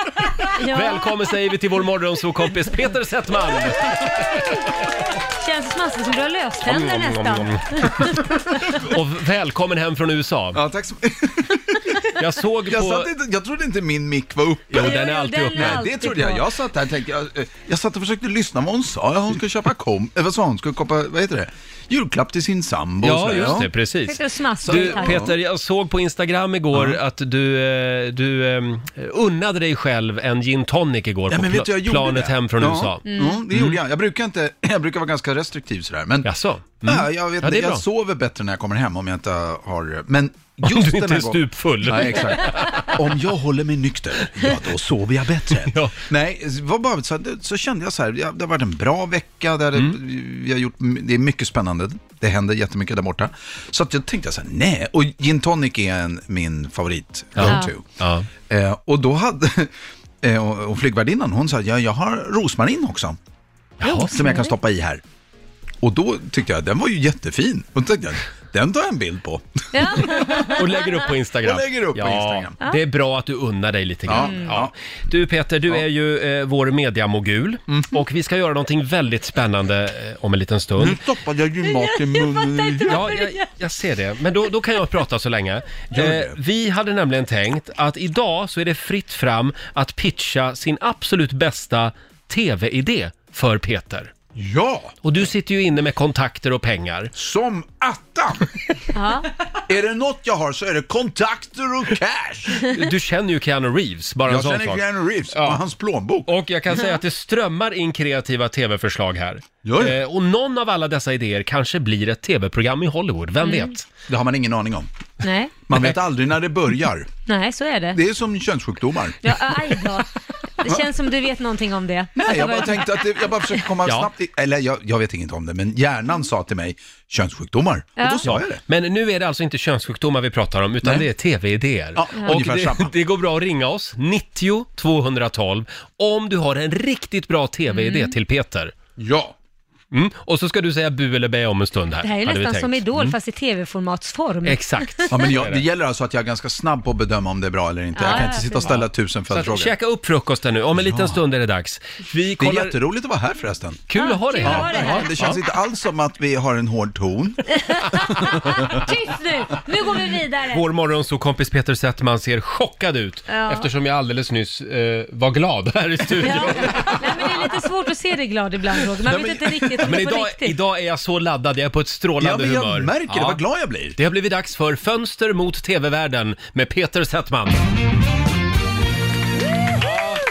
B: Ja.
A: Välkommen säger vi till vår morgonsåkompis Peter Settman!
B: Känns smaskigt som du har löständer
A: Om, om, om,
B: nästan.
A: om. Och välkommen hem från USA.
L: Ja, tack så mycket.
A: Jag såg
L: Jag,
A: på-
L: satt inte, jag trodde inte min mick var uppe.
A: Jo, den är Jo, alltid den uppe. är
L: Nej, det
A: alltid
L: trodde jag.
A: på.
L: Jag satt här och tänkte, jag, eh, jag satt och försökte lyssna vad hon sa. Ja, hon skulle köpa kom, eh, vad sa hon, skulle köpa, vad heter det, julklapp till sin sambo. och
A: Ja,
L: sådär,
A: just det, precis. Sitter
B: och smaskar
A: Du,
B: här.
A: Peter, jag såg på Instagram igår
L: Ja.
A: att du, eh, du eh, unnade dig själv en gin tonic igår
L: Ja,
A: på
L: men vet du, jag
A: pla-
L: gjorde
A: planet
L: det.
A: hem från
L: ja.
A: USA.
L: Ja, det gjorde jag. Jag brukar, inte, jag brukar vara ganska restriktiv sådär. Men, ja, jag vet
A: Mm. Ja, det
L: inte,
A: är
L: jag
A: bra.
L: sover bättre när jag kommer hem om jag inte har... Men just
A: du
L: den
A: inte
L: här
A: är
L: gången-
A: stupfull.
L: Nej, exakt. Om jag håller mig nykter, ja då sover jag bättre. Nej, det var bara, så, så kände jag så här, ja, det har varit en bra vecka, där vi har gjort, det är mycket spännande, det händer jättemycket där borta. Så att jag tänkte så här, nej, och gin tonic är en, min favorit,
A: Ja.
L: go-to.
A: Ja.
L: Eh, och då hade, eh, och, och flygvärdinnan hon sa, ja, jag har rosmarin också. Som jag kan stoppa i här. Och då tyckte jag, den var ju jättefin. Och då tänkte jag, den tar jag en bild på.
A: Och lägger upp på Instagram.
L: Och lägger upp på
A: ja,
L: Instagram. Mm.
A: Det är bra att du unnar dig lite grann.
L: Ja,
A: Ja. Du Peter, du är ju eh, vår mediamogul
L: Mm.
A: och vi ska göra någonting väldigt spännande eh, om en liten stund.
L: Nu stoppade jag ju mat i munnen.
A: Ja, jag, jag ser det. Men då, då kan jag prata så länge.
L: Gör det.
A: Eh, vi hade nämligen tänkt att idag så är det fritt fram att pitcha sin absolut bästa tv-idé för Peter.
L: Ja!
A: Och du sitter ju inne med kontakter och pengar.
L: Som attan! Är det något jag har så är det kontakter och cash.
A: Du känner ju Keanu Reeves, bara en
L: Jag
A: sån
L: känner
A: sak.
L: Keanu Reeves och hans plånbok.
A: Och jag kan säga att det strömmar in kreativa tv-förslag här.
L: Gör det?
A: Eh, och någon av alla dessa idéer kanske blir ett tv-program i Hollywood, vem
B: Mm.
A: vet?
L: Det har man ingen aning om.
B: Nej,
L: Man vet aldrig när det börjar.
B: nej så är det.
L: Det är som könssjukdomar.
B: Ja, aj då. Det känns som du vet någonting om det.
L: Nej,
B: Att
L: jag
B: det
L: bara
B: var-
L: tänkte att det, jag bara försökte komma snabbt i, eller jag, jag vet inget om det, men hjärnan sa till mig könssjukdomar. Och då sa jag det.
A: Men nu är det alltså inte könssjukdomar vi pratar om, utan
L: Nej.
A: det är tv-idéer.
L: Ja,
A: och
L: ungefär
A: det,
L: samma.
A: det går bra att ringa oss, 90 212, om du har en riktigt bra tv-idé
B: Mm.
A: till Peter.
L: Ja.
A: Mm. Och så ska du säga bu eller bä om en stund här.
B: Det här är
A: hade vi
B: nästan
A: tänkt.
B: som Idol
A: Mm.
B: fast i tv-formatsform.
A: Exakt.
L: Ja, men jag, det gäller alltså att jag är ganska snabb på att bedöma om det är bra eller inte.
B: Ja,
L: Jag kan
B: ja,
L: inte sitta
B: precis.
L: och ställa tusen
A: Så att,
L: följdfrågor.
A: käka upp frukosten nu, om en liten stund är det dags. Vi
L: Det
A: kollar...
L: är jätteroligt att vara här förresten.
A: Kul att ha dig
L: Ja,
A: här.
L: ja, det känns
A: Ja.
L: inte alls som att vi har en hård ton.
B: Tyst nu! Nu går vi vidare.
A: Vår morgonsåkompis Peter Settman ser chockad ut
B: Ja.
A: eftersom jag alldeles nyss eh, var glad här i studion.
B: Nej, men det är lite svårt att se dig glad ibland Roger. Man
A: Nej,
B: vet inte
A: men-
B: riktigt
A: Ja,
B: om
A: men
B: det är på
A: idag,
B: riktigt.
A: idag är jag så laddad, jag är på ett strålande
L: Ja, men jag
A: humör.
L: märker det, vad glad jag blir.
A: Det har blivit dags för Fönster mot TV-världen med Peter Settman.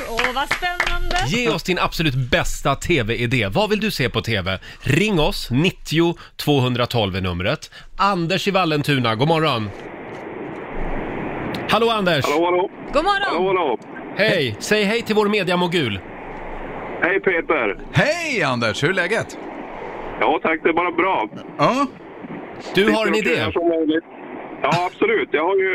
B: Åh, vad spännande!
A: Ge oss din absolut bästa TV-idé. Vad vill du se på TV? Ring oss, 90 212 är numret. Anders i Vallentuna, god morgon. Hallå Anders!
M: Hallå, hallå!
B: God morgon!
M: Hallå, hallå!
A: Hej! Säg hej till vår mediamogul.
M: Hej Peter!
L: Hej Anders, hur är läget?
M: Ja tack, det är bara bra.
L: Ja.
M: Sitter och klurar som vanligt. Ja, absolut. Jag har ju,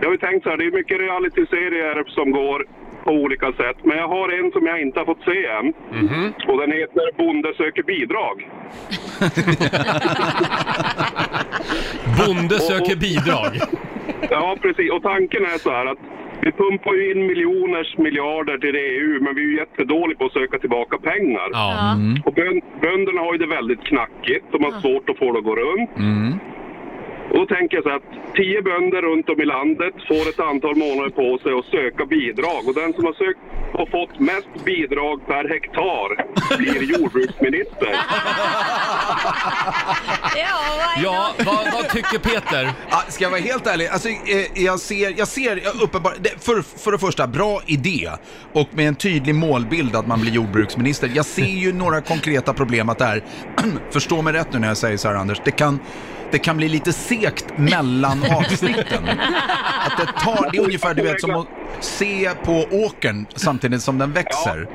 M: jag har ju tänkt så här, det är mycket realityserier som går på olika sätt. Men jag har en som jag inte har fått se än.
F: Mhm.
M: Och den heter Bonde söker bidrag.
A: Bonde söker bidrag.
M: Ja, precis. Och tanken är så här att vi pumpar ju in miljoners miljarder till EU, men vi är ju jättedåliga på att söka tillbaka pengar.
E: Ja. Mm.
M: Och bön- bönderna har ju det väldigt knackigt. De har svårt att få det att gå runt.
E: Mm.
M: Och då tänker jag så här att tio bönder runt om i landet får ett antal månader på sig att söka bidrag. Och den som har sökt och fått mest bidrag per hektar blir jordbruksminister.
A: Ja, vad, vad tycker Peter?
L: Ja, ska jag vara helt ärlig, alltså, eh, jag ser, jag ser jag uppenbar, det, för, för det första, bra idé och med en tydlig målbild att man blir jordbruksminister. Jag ser ju några konkreta problem att det är, förstå mig rätt nu när jag säger så här Anders, det kan, det kan bli lite sekt mellan avsnitten. Att det tar, det är ungefär du vet som att se på åkern samtidigt som den växer.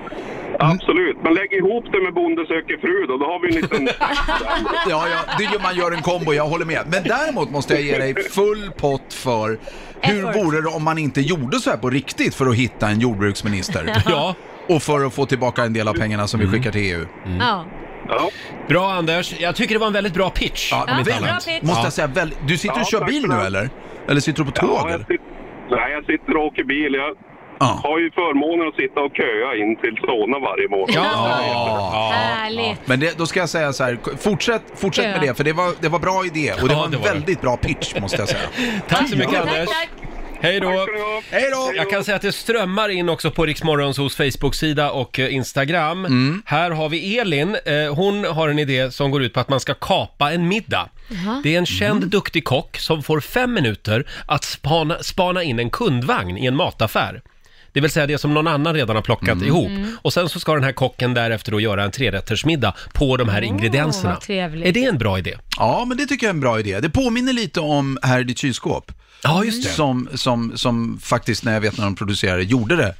M: Absolut, men lägg ihop det med Bonde söker fru då, då har vi en liten...
L: Ja, ja, det gör man gör en kombo, jag håller med. Men däremot måste jag ge dig full pott för hur vore det om man inte gjorde så här på riktigt för att hitta en jordbruksminister?
A: Ja.
L: Och för att få tillbaka en del av pengarna som vi
M: Mm.
L: skickar till E EU.
B: Ja.
A: Bra Anders, jag tycker det var en väldigt bra pitch.
L: Ja,
A: om inte
L: väldigt.
A: annat.
L: Måste
A: Ja.
L: Alltså, jag säga, väldigt. Du sitter
M: Ja,
L: och kör
M: tack
L: bil
M: för
L: nu
M: det.
L: eller? Eller sitter du på tåg?
M: Ja, jag
L: eller?
M: sitter, nej, jag sitter och åker bil. Jag har ju förmånen att sitta och köa in till Solna varje morgon.
L: Ja.
B: Härligt.
L: Men det, då ska jag säga så här, fortsätt, fortsätt
B: Ja.
L: med det, för det var, det var bra idé och det
A: Ja,
L: var en
A: det var det.
L: väldigt bra pitch måste jag säga.
A: Tack så mycket
L: Ja.
A: Anders. Hej då! Hej då! Jag kan säga att det strömmar in också på Riksmorgons hos Facebook-sida och eh, Instagram. Här har vi Elin. Eh, Hon har en idé som går ut på att man ska kapa en middag.
E: Jaha.
A: Det är en känd
B: Mm.
A: duktig kock som får fem minuter att spana, spana in en kundvagn i en mataffär. Det vill säga det som någon annan redan har plockat ihop.
B: Mm.
A: Och sen så ska den här kocken därefter då göra en trerättersmiddag på de här ingredienserna.
B: vad trevligt.
A: Är det en bra idé?
L: Ja, men det tycker jag är en bra idé. Det påminner lite om Här i ditt kylskåp.
A: Ja, just det.
L: Som, som, som faktiskt, när jag vet när de producerade, gjorde det.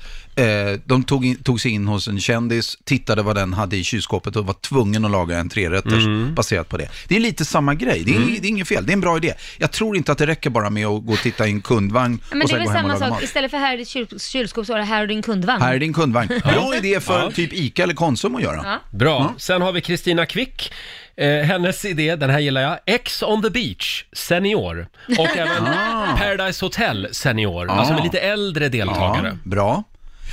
L: Eh, de tog, in, tog sig in hos en kändis, tittade vad den hade i kylskåpet och var tvungen att laga en trerätters
A: Mm.
L: baserat på det. Det är lite samma grej, det är,
A: Mm.
L: det är inget fel, det är en bra idé. Jag tror inte att det räcker bara med att gå och titta i en kundvagn
B: Ja, Men
L: och
B: det är
L: sen
B: väl
L: gå hem och
B: samma
L: laga
B: sak,
L: mat.
B: istället för här är ditt kyl- kylskåp så är det här och din kundvagn.
L: Här är din kundvagn. Bra idé för
A: Ja.
L: typ ICA eller Konsum att göra.
B: Ja.
A: Bra. Sen har vi Kristina Quick. Eh, hennes idé, den här gillar jag. Ex on the beach, senior. Och även
L: Ah.
A: Paradise Hotel, senior. Alltså med lite äldre deltagare.
L: Ja, bra.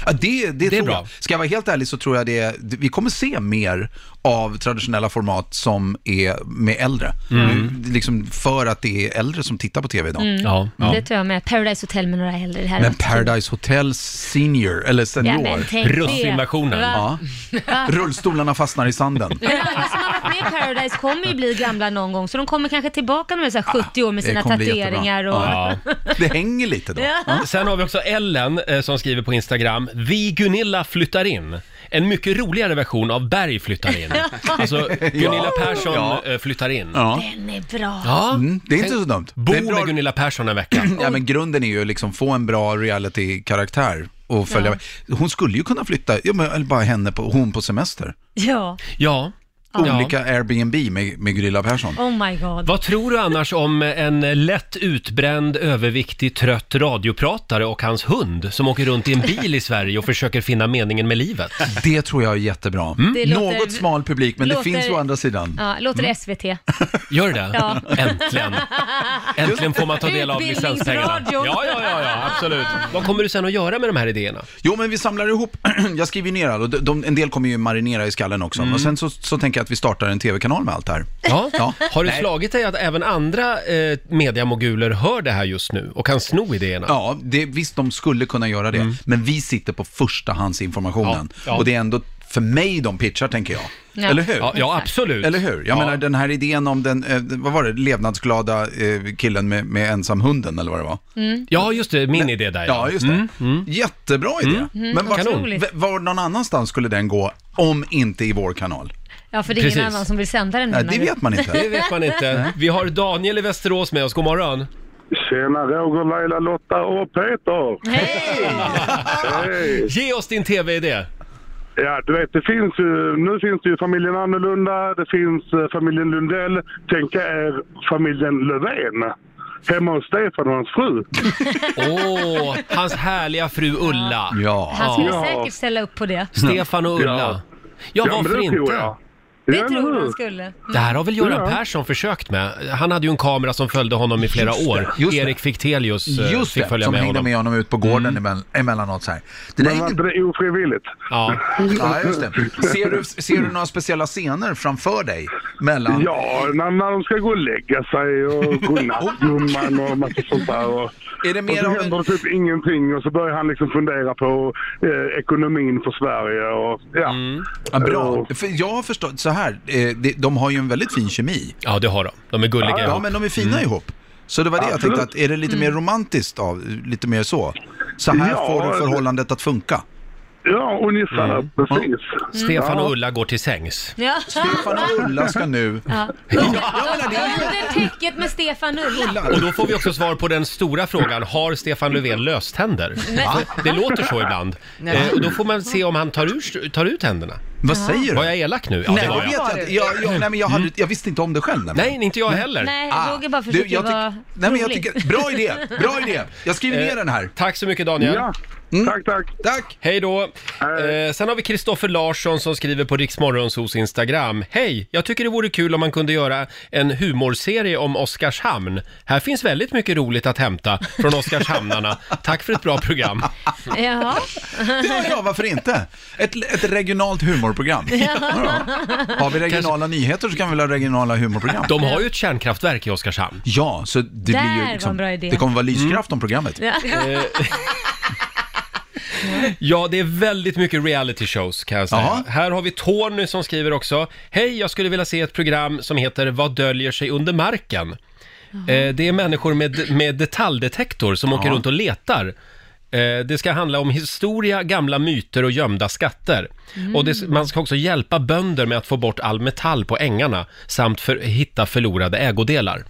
L: Ja, det, det, tror
A: bra.
L: jag. Ska jag vara helt ärlig så tror jag det, vi kommer se mer av traditionella format som är med äldre.
A: Mm.
L: Nu, liksom för att det är äldre som tittar på tv idag.
B: Mm.
A: Ja,
B: Det tror jag med. Paradise Hotel med några äldre. Det här
L: Men Paradise Hotel Senior, eller
B: Ja,
L: Senior.
B: men tänk det. Va?
L: Ja.
B: Va?
L: Rullstolarna fastnar i sanden.
B: Men alla som har varit med i Paradise kommer ju bli gamla någon gång, så de kommer kanske tillbaka när de är så här 70 år med
A: det
B: sina
A: kommer bli
B: tatueringar och...
A: jättebra.
L: Det hänger lite
B: då. Ja.
A: Sen har vi också Ellen eh, som skriver på Instagram, Vi Gunilla flyttar in. En mycket roligare version av Berg flyttar in. Alltså Gunilla
L: Ja.
A: Persson
L: Ja.
A: eh, flyttar in.
L: Ja.
B: Den är bra.
A: Ja.
L: Mm, det är inte
A: Tänk-
L: så dumt.
A: Bo
L: Det är bra-
A: med Gunilla Persson en vecka.
L: Ja, men grunden är ju liksom få en bra reality-karaktär och följa. Hon skulle ju kunna flytta, ja, men, eller bara henne på, hon på semester.
B: Ja.
A: Ja.
L: Olika Airbnb med, med Gunilla Persson.
B: Oh my god.
A: Vad tror du annars om en lätt utbränd, överviktig, trött radiopratare och hans hund som åker runt i en bil i Sverige och försöker finna meningen med livet?
L: Det tror jag är jättebra.
B: Det låter-
L: Något smal publik, men
B: låter-
L: det finns å andra sidan.
B: Ja, låter det SVT.
A: Gör det?
B: Ja.
A: Äntligen! Äntligen får man ta del av
B: Utbildningsradion.
A: licenspengarna. Ja, ja, ja, ja, absolut. Vad kommer du sen att göra med de här idéerna?
L: Jo, men vi samlar ihop, jag skriver ju ner allt, och de- de, en del kommer ju marinera i skallen också.
A: Mm.
L: Och sen så, så tänker jag att vi startar en tv-kanal med allt det här.
A: Ja. Har du
L: Nej.
A: slagit dig att även andra eh, mediamoguler hör det här just nu och kan sno idéerna?
L: Ja, det, visst de skulle kunna göra det, men vi sitter på förstahandsinformationen.
A: Ja, ja.
L: Och det är ändå för mig de pitchar, tänker jag.
A: Ja.
L: Eller hur?
A: Ja, ja, absolut.
L: Eller hur? Jag
A: Ja.
L: menar den här idén om den, eh, vad var det, levnadsglada eh, killen med, med ensamhunden eller vad det var.
B: Mm.
A: Ja, just det, min idé där.
L: Ja, just det. Jättebra idé.
A: Mm. Mm,
L: Men
B: Kanon.
L: var, v- var någon annanstans skulle den gå om inte i vår kanal?
B: Ja, för det är ingen
A: Precis.
B: annan som vill sända den
L: Nej,
B: menar
L: det
B: du?
L: vet man inte.
A: Det vet man inte. Vi har Daniel i Västerås med oss, god morgon.
N: Tjena Roger, Laila, Lotta och Peter!
A: Ge oss din tv-idé.
N: Ja, du vet, det finns ju, nu finns det ju familjen Annorlunda, det finns eh, familjen Lundell. Tänk er familjen Löfven. Hemma hos Stefan och hans fru.
A: Åh, hans härliga fru Ulla. Ja.
B: Han skulle säkert ställa upp på det.
A: Stefan och Ulla. Ja,
N: men
A: varför
N: det tror
A: inte?
N: jag.
B: Det tror han skulle. Mm.
A: Det här har väl Göran
B: Ja.
A: Persson försökt med? Han hade ju en kamera som följde honom i flera
L: Just det,
A: år.
L: just det.
A: Erik Fichtelius eh,
L: Just
A: fick
L: det,
A: följa
L: som
A: med
L: hängde
A: honom.
L: med honom Mm. ut på gården emell- emellanåt så här. Det där är
N: Men var
L: inte...
N: inte det ofrivilligt?
A: Ja.
L: ja, just det. Ser du, ser du några speciella scener framför dig? Mellan...
N: Ja, när, när de ska gå och lägga sig och godnattgumman och massa sånt där. Och,
L: Är det mer
N: och så
L: av en-
N: händer det typ ingenting och så börjar han liksom fundera på eh, ekonomin för Sverige och ja.
A: Mm.
L: Ja, bra.
N: Och-
L: För jag har förstått så här, eh, det- de har ju en väldigt fin kemi.
A: Ja, det har de. De är gulliga
L: Ja,
A: ihop.
L: men de är fina
A: Mm.
L: ihop. Så det var det jag
N: Absolut.
L: tänkte, att är det lite mer
N: Mm.
L: romantiskt av, lite mer så? Så här
N: Ja,
L: får du
N: det-
L: förhållandet att funka.
N: Ja, ungefär.
L: Mm.
N: Precis.
A: Stefan
L: Ja.
A: och Ulla går till sängs.
B: Ja.
L: Stefan och Ulla ska nu...
B: Ja. Under täcket med Stefan Ulla.
A: Och då får vi också svar på den stora frågan, har Stefan Löfven löständer?
B: Nej.
A: För Det låter så ibland.
L: Nej.
A: Eh, och då får man se om han tar, ur, tar ut händerna.
L: Vad säger du?
A: Var jag elak nu? Ja,
L: nej,
A: det var
L: jag vet
A: jag.
L: jag, inte. jag, jag, nej, men jag, hade, jag visste inte om det själv.
A: Nej, inte jag heller.
B: Nej, Roger bara försöker
L: Ah, jag tyck-
B: vara
L: nej, men jag
B: rolig.
L: tycker, Bra idé, bra idé. Jag skriver ner
A: Eh,
L: den här.
A: Tack så mycket Daniel.
L: Ja,
N: Tack, tack.
L: Tack.
A: Hej då. Eh, sen har vi Kristoffer Larsson som skriver på Riksmorgonsos Instagram. Hej! Jag tycker det vore kul om man kunde göra en humorserie om Oskarshamn. Här finns väldigt mycket roligt att hämta från Oskarshamnarna. Tack för ett bra program.
B: Jaha.
L: Ja, ja, varför inte? Ett, ett regionalt humorprogram. Har vi regionala nyheter så kan vi väl ha regionala humorprogram.
A: De har ju ett kärnkraftverk i Oskarshamn.
L: Ja, så det
B: Där
L: blir
B: var
L: ju
B: en
L: liksom,
B: bra idé.
L: det kommer vara lyskraft om programmet.
B: Ja.
A: Ja, det är väldigt mycket reality shows kan jag säga. Här har vi Tony som skriver också. Hej, jag skulle vilja se ett program som heter Vad döljer sig under marken? Eh, det är människor med, med detaljdetektor som åker runt och letar. Eh, det ska handla om historia, gamla myter och gömda skatter.
F: Mm.
A: Och det, man ska också hjälpa bönder med att få bort all metall på ängarna samt för, hitta förlorade ägodelar.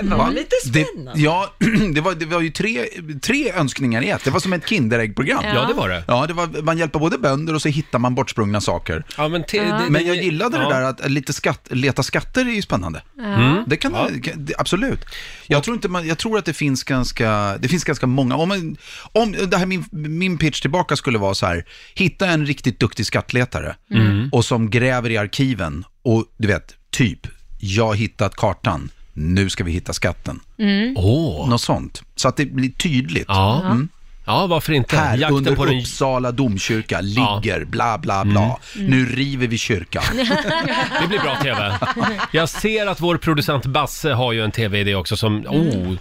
L: Det
A: var lite
L: Mm. Det, ja, det var, det var ju tre, tre önskningar i ett. Det var som ett Kinderägg-program.
A: Ja. Ja, det var det.
L: Ja, det var, man hjälper både bönder och så hittar man bortsprungna saker.
A: Ja, men, te-
B: Ja.
A: det-
L: Men
A: det-
L: jag gillade
A: ja.
L: det där att lite skatt, leta skatter är ju spännande.
B: Ja. Mm.
L: Det kan det, absolut. Jag tror, inte man, jag tror att det finns ganska, det finns ganska många. Om, man, om det här min, min pitch tillbaka skulle vara så här, hitta en riktigt duktig skattletare
E: Mm.
L: och som gräver i arkiven och du vet, typ, jag har hittat kartan, nu ska vi hitta skatten.
E: Mm.
L: Något sånt. Så att det blir tydligt.
A: Ja. Mm. Ja, varför inte?
L: Här
A: Jakten
L: under
A: på den-
L: Uppsala domkyrka ligger bla bla bla. Nu river vi kyrkan.
A: Det blir bra TV. Jag ser att vår producent Basse har ju en TV-idé också som...
L: Mm.
A: Oh.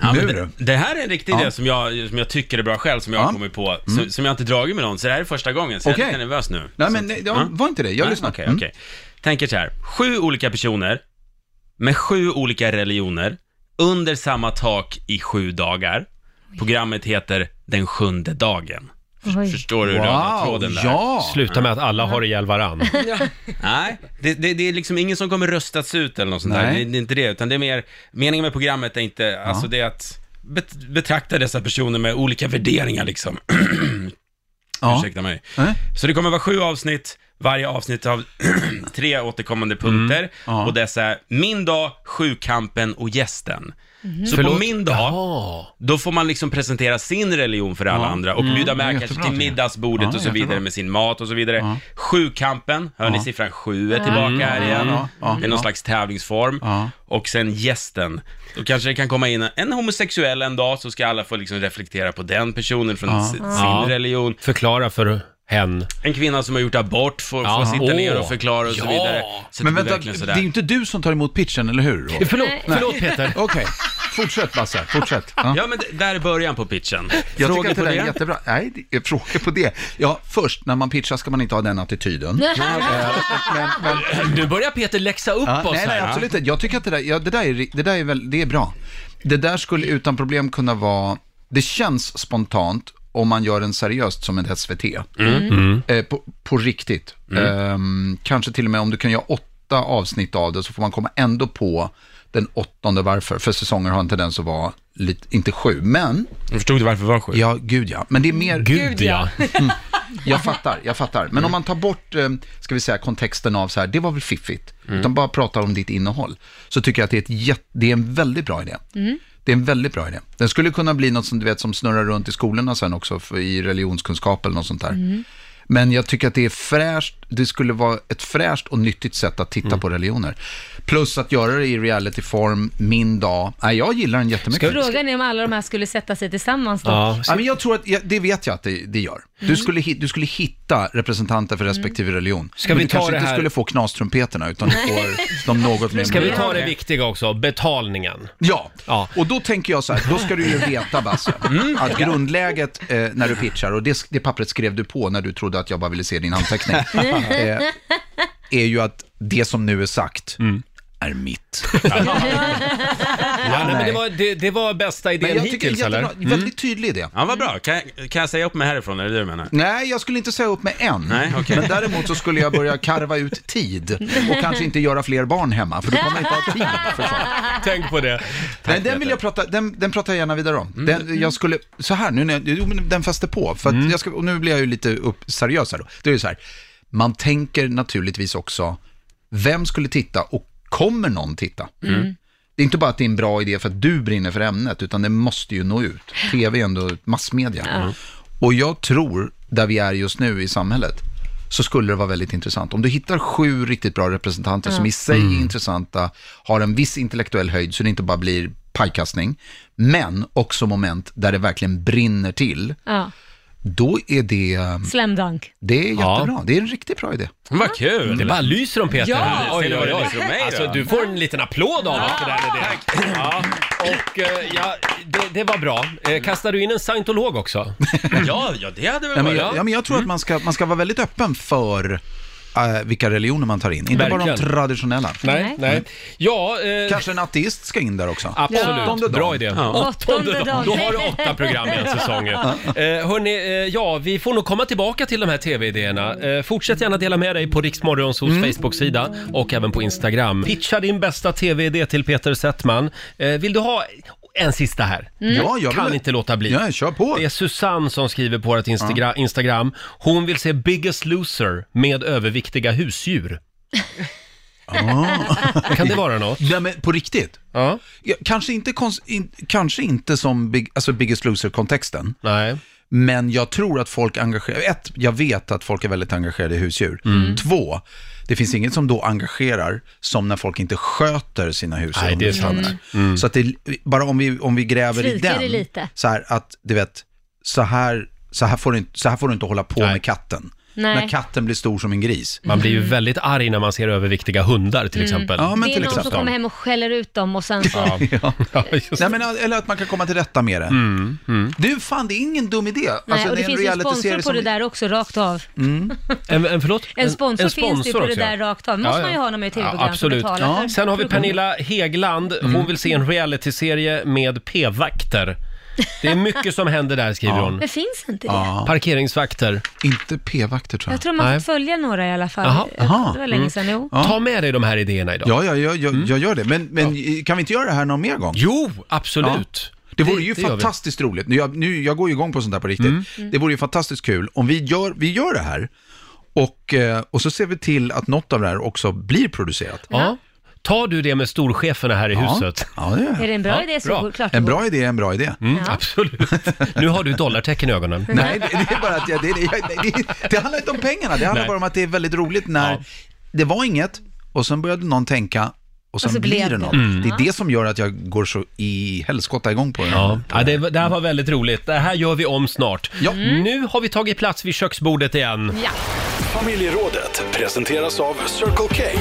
F: Ja, men
A: Nu
F: det,
A: då?
F: det här är en riktig
A: Ja.
F: idé som jag, som jag tycker är bra själv, som jag har kommit på, som, som jag inte dragit med någon, så det här är första gången, så jag är
L: Mm. Okej.
F: lite nervös nu.
L: Nej,
F: Så
L: men
F: att-
L: nej, ja, var inte det. Jag
F: Nej,
L: lyssnar.
F: Okej,
L: Mm.
F: okej. Tänk er så här, sju olika personer med sju olika religioner under samma tak i sju dagar. Programmet heter Den sjunde dagen. Förstår du
A: Wow,
F: röda-tråden där?
A: ja. Sluta med att alla har ihjäl varann.
F: Nej, det, det, det är liksom ingen som kommer röstats ut eller något sånt där.
A: Nej.
F: Det, det är inte det, utan det är mer, meningen med programmet är inte, alltså det är att bet, betrakta dessa personer med olika värderingar liksom. Ursäkta mig. Så det kommer vara sju avsnitt, varje avsnitt av tre återkommande
A: Mm.
F: punkter. Och dessa är min dag, sjukampen och gästen.
A: Mhm.
F: Så
A: Förlåt?
F: på min dag, då får man liksom presentera sin religion för alla
A: Ja.
F: andra och
A: Mm.
F: bjuda
A: Det
F: med
A: är jättebra,
F: kanske till
A: tycker jag.
F: middagsbordet
A: Ja,
F: och så vidare
A: jättebra.
F: med sin mat och så vidare. Sjukampen, hör ni
A: Ja.
F: siffran sju är
A: Ja.
F: tillbaka
A: Mm.
F: här igen.
A: Ja, ja,
F: Det är någon
A: ja.
F: slags tävlingsform. Och sen gästen. Då kanske det kan komma in en homosexuell en dag så ska alla få liksom reflektera på den personen från
A: Ja.
F: si- sin
A: Ja.
F: religion.
A: Förklara för hen.
F: En kvinna som har gjort abort får,
A: Ja.
F: får sitta ner
A: Åh.
F: och förklara och så
A: Ja.
F: vidare. Så
L: Men
F: det blir
L: vänta,
F: verkligen
L: det
F: sådär.
L: är ju inte du som tar emot pitchen, eller hur? Roger?
F: Förlåt-
L: Nej.
F: förlåt, Peter.
L: Okej, fortsätt Basse, fortsätt. Ja.
F: Ja, men det, där är början på pitchen.
L: Jag
F: Frågor
L: tycker att det
F: på
L: där är jättebra. Nej, det är frågor på det. Ja, först när man pitchar ska man inte ha den attityden.
F: Nej.
A: Nu börjar Peter läxa upp
L: Ja,
A: oss
L: nej, nej,
A: här.
L: absolut inte. Jag tycker att det där, ja, det där, är, det där är, väl, det är bra. Det där skulle utan problem kunna vara, det känns spontant om man gör den seriöst som ett SVT.
E: Mm. Mm.
L: Eh, på, på riktigt. Ehm, kanske till och med om du kan göra åtta avsnitt av det så får man komma ändå på den åttonde varför. För säsonger har en tendens att vara lite, inte sju, men...
F: Jag förstod varför det var sju.
L: Ja, gud ja. Men det är mer...
A: Gud, ja.
L: Mm. Jag fattar, jag fattar. Men om man tar bort, eh, ska vi säga, kontexten av så här, det var väl fiffigt, utan bara pratar om ditt innehåll, så tycker jag att det är, ett jätte, det är en väldigt bra idé.
E: Mm.
L: Det är en väldigt bra idé. Den skulle kunna bli något som du vet som snurrar runt i skolorna sen också, för, i religionskunskap eller något sånt där.
A: Mm.
L: Men jag tycker att det är fräscht, det skulle vara ett fräscht och nyttigt sätt att
F: Mm.
L: titta på religioner. Plus att göra det i realityform, min dag. Nej, jag gillar den jättemycket.
B: Frågan är om alla de här skulle sätta sig tillsammans då.
L: Ja, men jag tror att, ja, det vet jag att det, det gör. Du,
B: Mm.
L: skulle, hit- du skulle hitta representanter för respektive religion.
A: Ska
L: men
A: vi
L: du
A: ta
L: kanske
A: det
L: inte
A: här-
L: skulle få knastrumpeterna, utan du får de något mer
A: Ska vi ta det
L: moderna.
A: viktiga också, betalningen?
L: Ja. och då tänker jag så här, då ska du ju veta Basse,
A: Mm,
L: att grundläget eh, när du pitchar, och det, det pappret skrev du på när du trodde att jag bara ville se din anteckning, eh, är ju att det som nu är sagt är mitt.
A: Ja, nej, men det,
L: Nej.
A: var, det, det var bästa idén
L: Men jag tycker
A: hittills
L: jättebra.
A: eller?
L: Väldigt tydlig idé.
F: Ja, vad bra. Kan, jag- kan jag säga upp mig härifrån? Är det det du menar?
L: Nej, jag skulle inte säga upp mig än.
F: Nej, okej.
L: Men däremot så skulle jag börja karva ut tid och kanske inte göra fler barn hemma, för då kommer jag inte ha tid för sånt.
A: Tänk på det.
L: Nej, den vill jag prata, den, den pratar jag gärna vidare om.
E: Mm.
L: Den, jag skulle, så här nu när jag, jo, men den fäste på, för att
E: Mm.
L: jag ska, och nu blir jag ju lite upp, seriös här då. Det är ju så här, man tänker naturligtvis också, vem skulle titta och kommer någon titta?
E: Mm.
L: Det är inte bara att det är en bra idé för att du brinner för ämnet, utan det måste ju nå ut. Tv är ändå ett massmedia.
E: Ja.
L: Och jag tror, där vi är just nu i samhället, så skulle det vara väldigt intressant. Om du hittar sju riktigt bra representanter
E: Ja.
L: som i sig
E: Mm.
L: är intressanta, har en viss intellektuell höjd så det inte bara blir pajkastning, men också moment där det verkligen brinner till,
B: Ja.
L: då är det,
B: Slam dunk.
L: det är jättebra. Det är en riktigt bra idé.
A: Mm. Vad kul! Det bara lyser om Peter.
B: Ja!
A: här.
B: Ser
A: Oj,
B: du
A: oj,
B: vad det
A: oj.
B: lyser om mig då?
A: Alltså, du får en liten applåd av oss för den idén. Ja. Och eh, ja, det, det var bra. Eh, Kastar du in en scientolog också?
F: Ja, ja det hade
L: Ja, men jag, ja, men jag tror att man ska, man ska vara väldigt öppen för eh, vilka religioner man tar in, inte bara de
A: Verkligen.
L: traditionella.
A: Nej, nej. Ja, eh,
L: Kanske en ateist ska in där också. Åttonde
A: Absolut,
L: dagen.
A: bra idé. Åttonde dagen. Då har du åtta program i en säsong.
L: Ja.
A: Eh, hörni, eh, ja, vi får nog komma tillbaka till de här tv-idéerna. Eh, fortsätt gärna dela med dig på Riksmorgons hos
L: Mm.
A: Facebook-sida och även på Instagram. Pitcha din bästa tv-idé till Peter Settman. Eh, vill du ha en sista här?
L: Mm. Ja, jag vill-
A: Kan inte låta bli.
L: Ja, kör på.
A: Det är Susanne som skriver på vårt Instagra- Instagram. Hon vill se Biggest Loser med överviktiga husdjur.
L: Ah.
A: Kan det vara något?
L: Nej, men på riktigt?
A: Ja.
L: kanske, inte kons- in, kanske inte som big, alltså Biggest Loser-kontexten.
A: Nej.
L: Men jag tror att folk engagerar, ett, jag vet att folk är väldigt engagerade i husdjur.
A: Mm.
L: Två, det finns inget som då engagerar som när folk inte sköter sina husdjur.
A: Nej,
L: om
A: det är
L: du förstår
A: sant. Mm.
L: mig. Så att det, bara om vi, om vi gräver i
B: Sviker
L: den,
B: det lite.
L: så här att, du vet, så här, så här, får, du, inte- så här får du inte hålla på med katten.
B: Nej.
L: När katten blir stor som en gris.
A: Man blir ju väldigt arg när man ser överviktiga hundar till
B: Mm.
A: exempel.
B: det är någon som kommer hem och skäller ut dem och sen så...
A: Ja. Ja, just
L: Nej, men, eller att man kan komma till rätta med det.
A: Mm,
L: Du, fan det är ingen dum idé.
B: Nej,
L: Alltså,
B: och det,
L: är en
B: finns ju en
L: realityserie
B: sponsor på
L: som-
B: det där också, rakt av.
L: Mm.
A: En, en, förlåt?
B: En sponsor finns det ju på det där rakt av. Måste man ju ha när man är i tv-program som
A: absolut.
B: betalar Ja. för
A: Sen har vi
B: produktionen.
A: Pernilla Hegland. Hon
B: Mm.
A: vill se en realityserie med p-vakter. Det är mycket som händer där, skriver hon.
B: Men finns inte det?
A: Parkeringsvakter.
L: Inte p-vakter tror
B: Jag tror man
A: Nej.
B: får följa några i alla fall.
A: Jaha,
B: Jaha. Det var länge
A: Mm.
B: sedan, jo.
A: Ta med dig de här idéerna idag.
L: Ja, ja, ja, ja
A: Mm.
L: jag gör det. Men, men kan vi inte göra det här någon mer gång?
A: Jo, absolut.
L: Det vore ju
A: det gör vi. Mm.
L: fantastiskt roligt. Nu, jag, nu, jag går ju igång på sånt där på riktigt. Det vore ju fantastiskt kul om vi gör, vi gör det här och, eh, och så ser vi till att något av det här också blir producerat.
A: Ja. Tar du det med storcheferna här i huset?
L: Ja, det gör jag.
B: Är det en bra idé så går- klart det
L: En
B: går.
L: bra idé är en bra idé.
A: Mm, Absolut. Nu har du dollartecken i ögonen.
L: Nej, det, det är bara att jag, det, det, jag- det, det handlar inte om pengarna, det handlar
A: Nej.
L: bara om att det är väldigt roligt när det var inget och sen började någon tänka och sen
A: Och så
L: blir
A: blev
L: det
A: det.
L: något.
A: Mm.
L: Det är det som gör att jag går så i helskotta igång på det.
A: Ja, ja det, det här var väldigt roligt. Det här gör vi om snart. Mm. Nu har vi tagit plats vid köksbordet igen.
B: Ja.
D: Familjerådet presenteras av Circle K.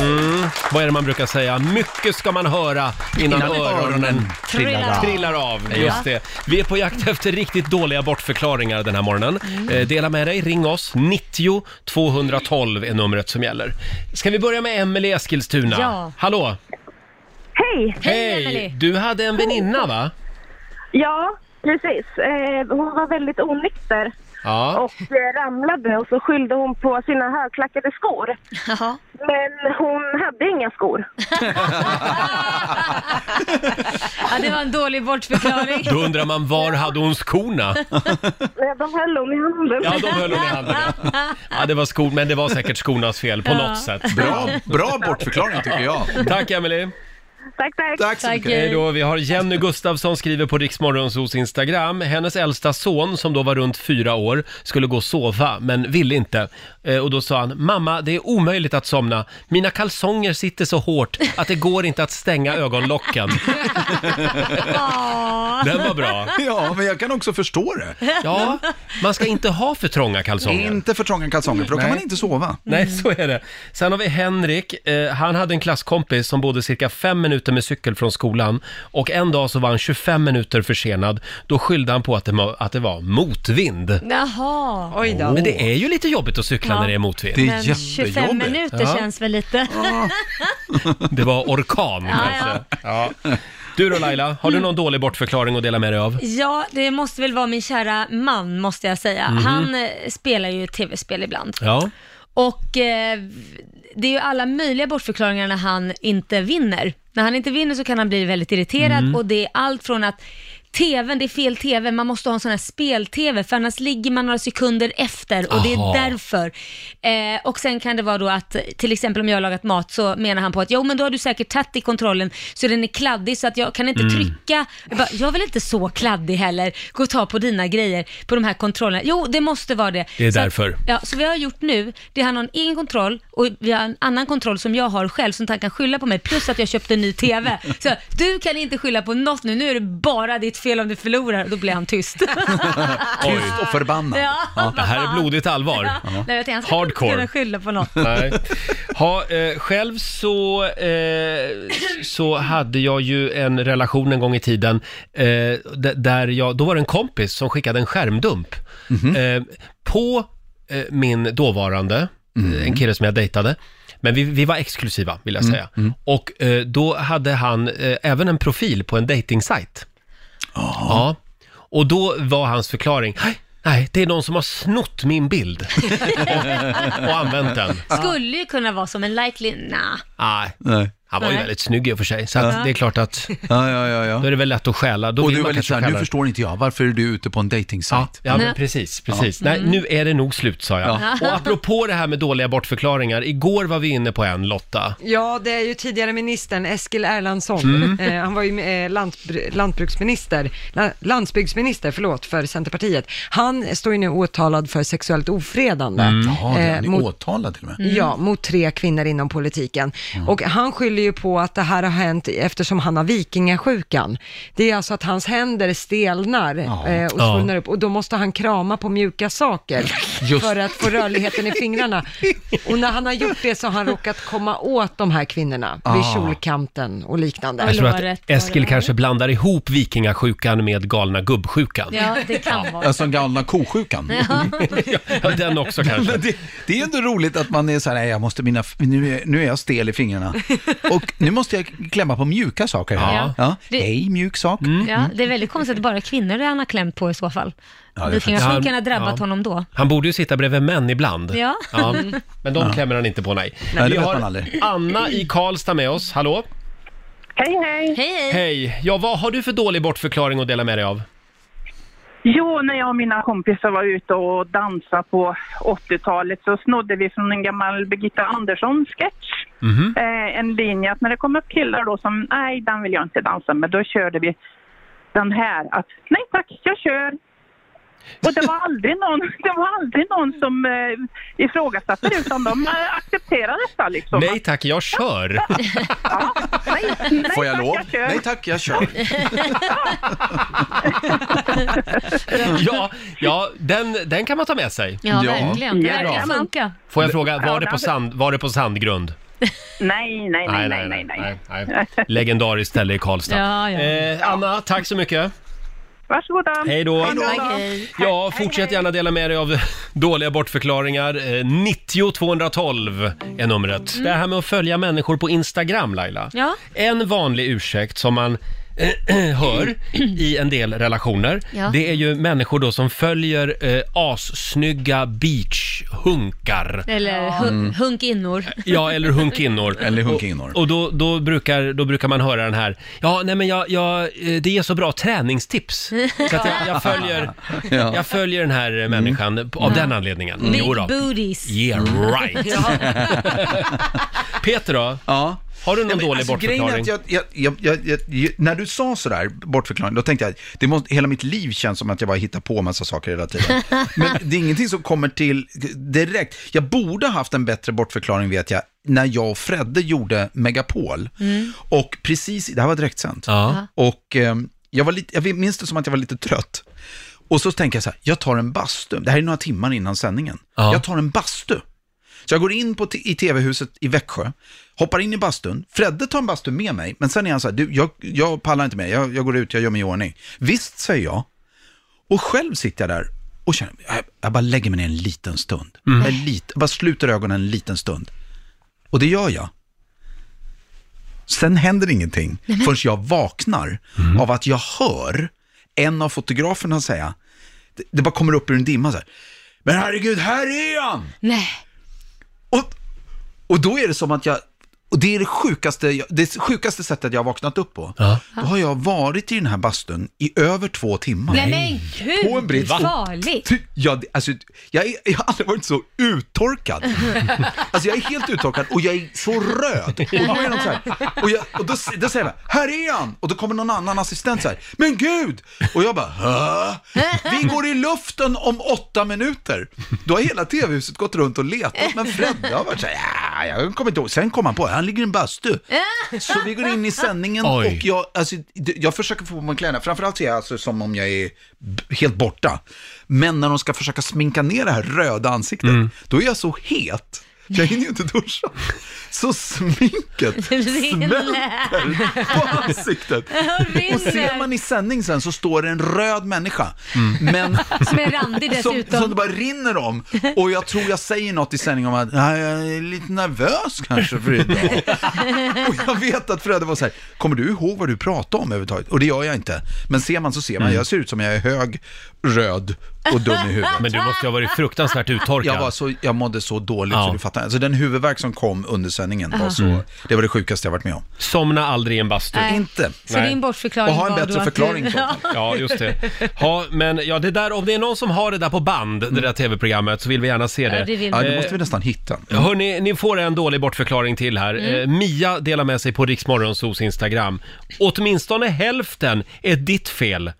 A: Mm. Vad är det man brukar säga? Mycket ska man höra innan,
E: Innan
A: öronen,
E: öronen
A: trillar,
E: trillar
A: av.
E: av.
A: Just
E: Ja.
A: det. Vi är på jakt efter riktigt dåliga bortförklaringar den här morgonen. Eh, dela med dig, ring oss. 90 212 är numret som gäller. Ska vi börja med Emelie Eskilstuna?
K: Ja.
A: Hallå!
K: Hej!
A: Hej! Du hade en väninna va?
K: Ja, precis. Eh, hon var väldigt onykter.
A: Ja.
K: och eh, ramlade och så skyllde hon på sina högklackade skor. Men hon hade inga skor.
B: Ja, det var en dålig bortförklaring.
A: Då undrar man, var hade hon skorna?
K: Nej, De höll hon i handen.
A: Ja, de höll hon i handen. Ja, det var skor, men det var säkert skornas fel på
K: Ja.
A: något sätt.
L: Bra- bra bortförklaring, tycker jag.
A: Tack Emelie.
K: Tack, tack.
A: Hej då. Vi har Jenny Gustafsson skriver på Riksmorgonsos Instagram. Hennes äldsta son, som då var runt fyra år, skulle gå och sova, men ville inte. Eh, Och då sa han, mamma, det är omöjligt att somna. Mina kalsonger sitter så hårt att det går inte att stänga ögonlocken. Den var bra.
L: Ja, men jag kan också förstå det.
A: Ja, man ska inte ha för trånga kalsonger.
L: Inte för trånga kalsonger, för då kan
A: Nej.
L: man inte sova.
A: Nej, så är det. Sen har vi Henrik. Eh, han hade en klasskompis som bodde cirka fem minuter med cykel från skolan och en dag så var han 25 minuter försenad. Då skyllde han på att det, ma- att det var motvind.
B: Jaha. Oj
A: Men det är ju lite jobbigt att cykla
B: Ja.
A: när det är motvind.
B: Men 25 minuter
A: Ja.
B: känns väl lite...
A: Det var orkan
B: Ja,
A: kanske. Ja. Du då Laila, har du någon dålig bortförklaring att dela med dig av?
B: Ja, det måste väl vara min kära man, måste jag säga.
A: Mhm.
B: Han eh, spelar ju tv-spel ibland.
A: Ja.
B: Och eh, det är ju alla möjliga bortförklaringar när han inte vinner. När han inte vinner så kan han bli väldigt irriterad
O: Mm.
B: och det är allt från att TVn, det är fel TV, man måste ha en sån här spel-TV för annars ligger man några sekunder efter och det
O: Aha.
B: är därför. Eh, och sen kan det vara då att till exempel om jag har lagat mat så menar han på att jo men då har du säkert tagit i kontrollen så den är kladdig så att jag kan inte
O: Mm.
B: trycka trycka. Jag, bara, jag är väl inte så kladdig heller. Gå och ta på dina grejer på de här kontrollerna. Jo, det måste vara det.
A: Det är
B: så att-
A: därför.
B: ja, så vi har gjort nu, det är han har en egen kontroll och vi har en annan kontroll som jag har själv som han kan skylla på mig. Plus att jag köpte en ny TV. Så du kan inte skylla på något nu. Nu är det bara ditt fel om du förlorar. Då blir han tyst.
A: Tyst och förbannad.
B: Ja,
A: Det här är blodigt allvar.
B: Nej, jag tänkte, han ska inte
A: Hardcore.
B: kunna skylla på något.
A: Nej. Ha, eh, själv så, eh, så hade jag ju en relation en gång i tiden eh, d- där jag, då var det en kompis som skickade en skärmdump
L: Mhm.
A: eh, på eh, min dåvarande, eh, en kille som jag dejtade. Men vi, vi var exklusiva vill jag
L: Mm,
A: säga. Och eh, då hade han eh, även en profil på en dejtingsajt.
L: Ah.
A: Ja. Och då var hans förklaring, "Nej, nej, det är någon som har snott min bild och, och använt den.
B: Skulle ju kunna vara som en likely, nah.
A: Nej. Han var ju
B: Nej.
A: väldigt snygg i och för sig, så att
B: Ja.
A: det är klart att då är det väl lätt att stjäla. Då
L: och
A: vill
L: du
A: man
L: var lite
A: kanske
L: såhär, nu
A: stjäla.
L: förstår inte jag, varför är du ute på en dejtingsajt?
A: Ja, men precis, precis.
L: Ja.
A: Nej,
B: Mm.
A: nu är det nog slut sa jag.
L: Ja.
A: Och apropå det här med dåliga bortförklaringar, igår var vi inne på en Lotta.
C: Ja, det är ju tidigare ministern Eskil Erlandsson.
A: Mm.
C: Eh, han var ju eh, lantbr- lantbruksminister, la, landsbygdsminister, förlåt, för Centerpartiet. Han står ju nu åtalad för sexuellt ofredande. Eh,
L: Mm. Jaha, det- han är
C: mot-
L: åtalad till och med.
C: Ja, mot tre kvinnor inom politiken. Och han skyller ju på att det här har hänt eftersom han har vikingasjukan. Det är alltså att hans händer stelnar eh, och
L: Ja.
C: svullnar upp och då måste han krama på mjuka saker
L: Just.
C: för att få rörligheten i fingrarna. Och när han har gjort det så har han råkat komma åt de här kvinnorna vid
A: Ah.
C: kjolkanten och liknande.
A: Jag tror att Eskil kanske blandar ihop vikingasjukan med galna gubbsjukan.
B: Ja, det kan vara.
L: Alltså galna kosjukan.
A: Ja, den också kanske.
L: Men det, det är ändå roligt att man är så här, nej, jag måste mina, f- nu, är, nu är jag stel i fingrarna. Och nu måste jag klämma på mjuka saker. här.
B: Ja. Mm.
L: Ja.
B: Det-
L: Hej, mjuk sak.
B: Ja, det är väldigt konstigt att bara kvinnor han har klämt på i så fall.
A: Ja, det är
B: Vikingasjukan
A: faktiskt-
B: har drabbat
A: Ja.
B: honom då.
A: Han borde ju sitta bredvid män ibland.
B: Ja. Mm.
A: Men de
L: Ja.
A: klämmer han inte på, nej.
L: Nej, det
A: vi
L: vet
A: har
L: man aldrig.
A: Anna i Karlstad med oss, hallå?
K: Hej, hej.
A: Hej! Ja, vad har du för dålig bortförklaring att dela med dig av?
O: Jo, när jag och mina kompisar var ute och dansade på 80-talet så snodde vi från en gammal Birgitta Andersson-sketch
E: Mhm.
O: eh, en linje att när det kom upp killar då som nej, den vill jag inte dansa med, då körde vi den här att nej tack, jag kör. Och det var aldrig någon, det var aldrig någon som eh, ifrågasatte det utan de eh, accepterade detta liksom.
A: Nej tack, jag kör!
L: Får jag lov?
O: jag kör.
L: Nej tack, jag kör.
A: ja, ja den, den kan man ta med sig.
B: Ja, verkligen. Det
A: Bra.
B: verkar funka.
A: Får jag fråga, var det på, sand, var det på sandgrund?
O: Nej, nej, nej, nej, nej, nej.
A: nej. Legendariskt ställe i Karlstad.
O: Ja, ja.
A: Eh, Anna, tack så mycket.
O: Varsågoda.
A: Hej då.
O: Hej då.
A: Ja, fortsätt gärna dela med dig av dåliga bortförklaringar. Eh, 90 212 är numret. Det här med att följa människor på Instagram, Laila.
B: Ja.
A: En vanlig ursäkt som man hör i en del relationer,
E: Ja.
A: det är ju människor då som följer eh, assnygga beachhunkar.
B: Eller
A: Ja.
B: hu-
A: Mm.
B: hunkinnor.
A: Ja, eller hunkinnor.
L: Eller hunkinnor.
A: Och, och då, då, brukar, då brukar man höra den här, ja, nej men jag, jag, eh, det är så bra träningstips. Så att jag, jag, följer,
E: Ja.
A: jag följer den här eh, människan p- av
E: Ja.
A: den anledningen.
E: Mm.
A: Jo då.
E: Big booties.
A: Yeah right.
E: Ja.
A: Peter då?
L: Ja.
A: Har du någon
L: Ja, men
A: dålig
L: alltså, grejen är
A: bortförklaring?
L: att jag, jag, jag, jag, jag, jag, när du sa sådär, bortförklaring, då tänkte jag att det måste, hela mitt liv känns som att jag bara hittar på massa saker hela tiden. Men det är ingenting som kommer till direkt. Jag borde haft en bättre bortförklaring vet jag, när jag och Fredde gjorde Megapol.
E: Mm.
L: Och precis, det här var direktsänt.
E: Ja.
L: Och eh, jag, var lite, jag minns det som att jag var lite trött. Och så tänker jag så här, jag tar en bastu. Det här är några timmar innan sändningen. Jag tar en bastu. Så jag går in på t- i tv-huset i Växjö, hoppar in i bastun. Fredde tar en bastu med mig, men sen är han så här, du, jag, jag pallar inte med, jag, jag går ut, jag gör mig i ordning. Visst, säger jag. Och själv sitter jag där och känner, jag, jag bara lägger mig ner en liten stund.
E: Mm.
L: En lit, jag bara sluter ögonen en liten stund. Och det gör jag. Sen händer ingenting förrän jag vaknar av att jag hör en av fotograferna säga, det, det bara kommer upp ur en dimma så här, men herregud, här är han!
B: Nej.
L: Och, och då är det som att jag, och det är det sjukaste, jag- det sjukaste sättet jag har vaknat upp på. Då har jag varit i den här bastun i över två timmar.
B: Nej men gud,
L: På en brits.
B: farligt.
L: Ty- Ja, det- alltså, jag, är, jag har aldrig varit så uttorkad. Alltså jag är helt uttorkad och jag är så röd. Och då, är de så här, och jag, och då, då säger jag, här är han! Och då kommer någon annan assistent så här, men gud! Och jag bara, "Hä? Vi går i luften om åtta minuter. Då har hela tv-huset gått runt och letat, men Fredde har varit så här, "Ja, jag kommer inte ihåg. Sen kom han på, han ligger i en bastu. Så vi går in i sändningen
E: Oj.
L: och jag, alltså, det- jag försöker få på mig kläderna. Framförallt ser jag alltså som om jag är b- helt borta. Men när de ska försöka sminka ner det här röda ansiktet, då är jag så het. för Jag hinner ju inte duscha. Så sminket smälter på ansiktet.
B: rinner.
L: Och ser man i sändning sen så står det en röd människa. Men,
B: Som är randig
L: som,
B: dessutom.
L: som det bara rinner om. Och jag tror jag säger något i sändning om att "Nej, jag är lite nervös kanske för idag. Och jag vet att Fredde var så här, kommer du ihåg vad du pratade om överhuvudtaget? Och det gör jag inte. Men ser man så ser
A: Mm.
L: man, jag ser ut som jag är hög, röd och dum i huvudet.
A: Men du måste ju ha varit fruktansvärt uttorkad.
L: Jag, var så, jag mådde så dåligt så du fattar. Alltså den huvudvärk som kom under sändningen var
B: Ja.
L: så,
B: Mm.
L: det var det sjukaste jag varit med om.
A: Somna aldrig i en bastu.
B: Nej.
L: Inte.
B: Så Äh, din bortförklaring
L: Och ha en
B: var då
L: bättre
B: att
L: förklaring
B: du...
L: på.
A: Ja, just det. Ja, men ja, det där, om det är någon som har det där på band, det
L: Mm.
A: där tv-programmet, så vill vi gärna se det.
L: Ja, det vill vi. Ja, det måste vi nästan hitta.
A: Hörni, ni får en dålig bortförklaring till här.
L: Mm.
A: Eh, Mia delar med sig på Riksmorgonsos Instagram. Åtminstone hälften är ditt fel,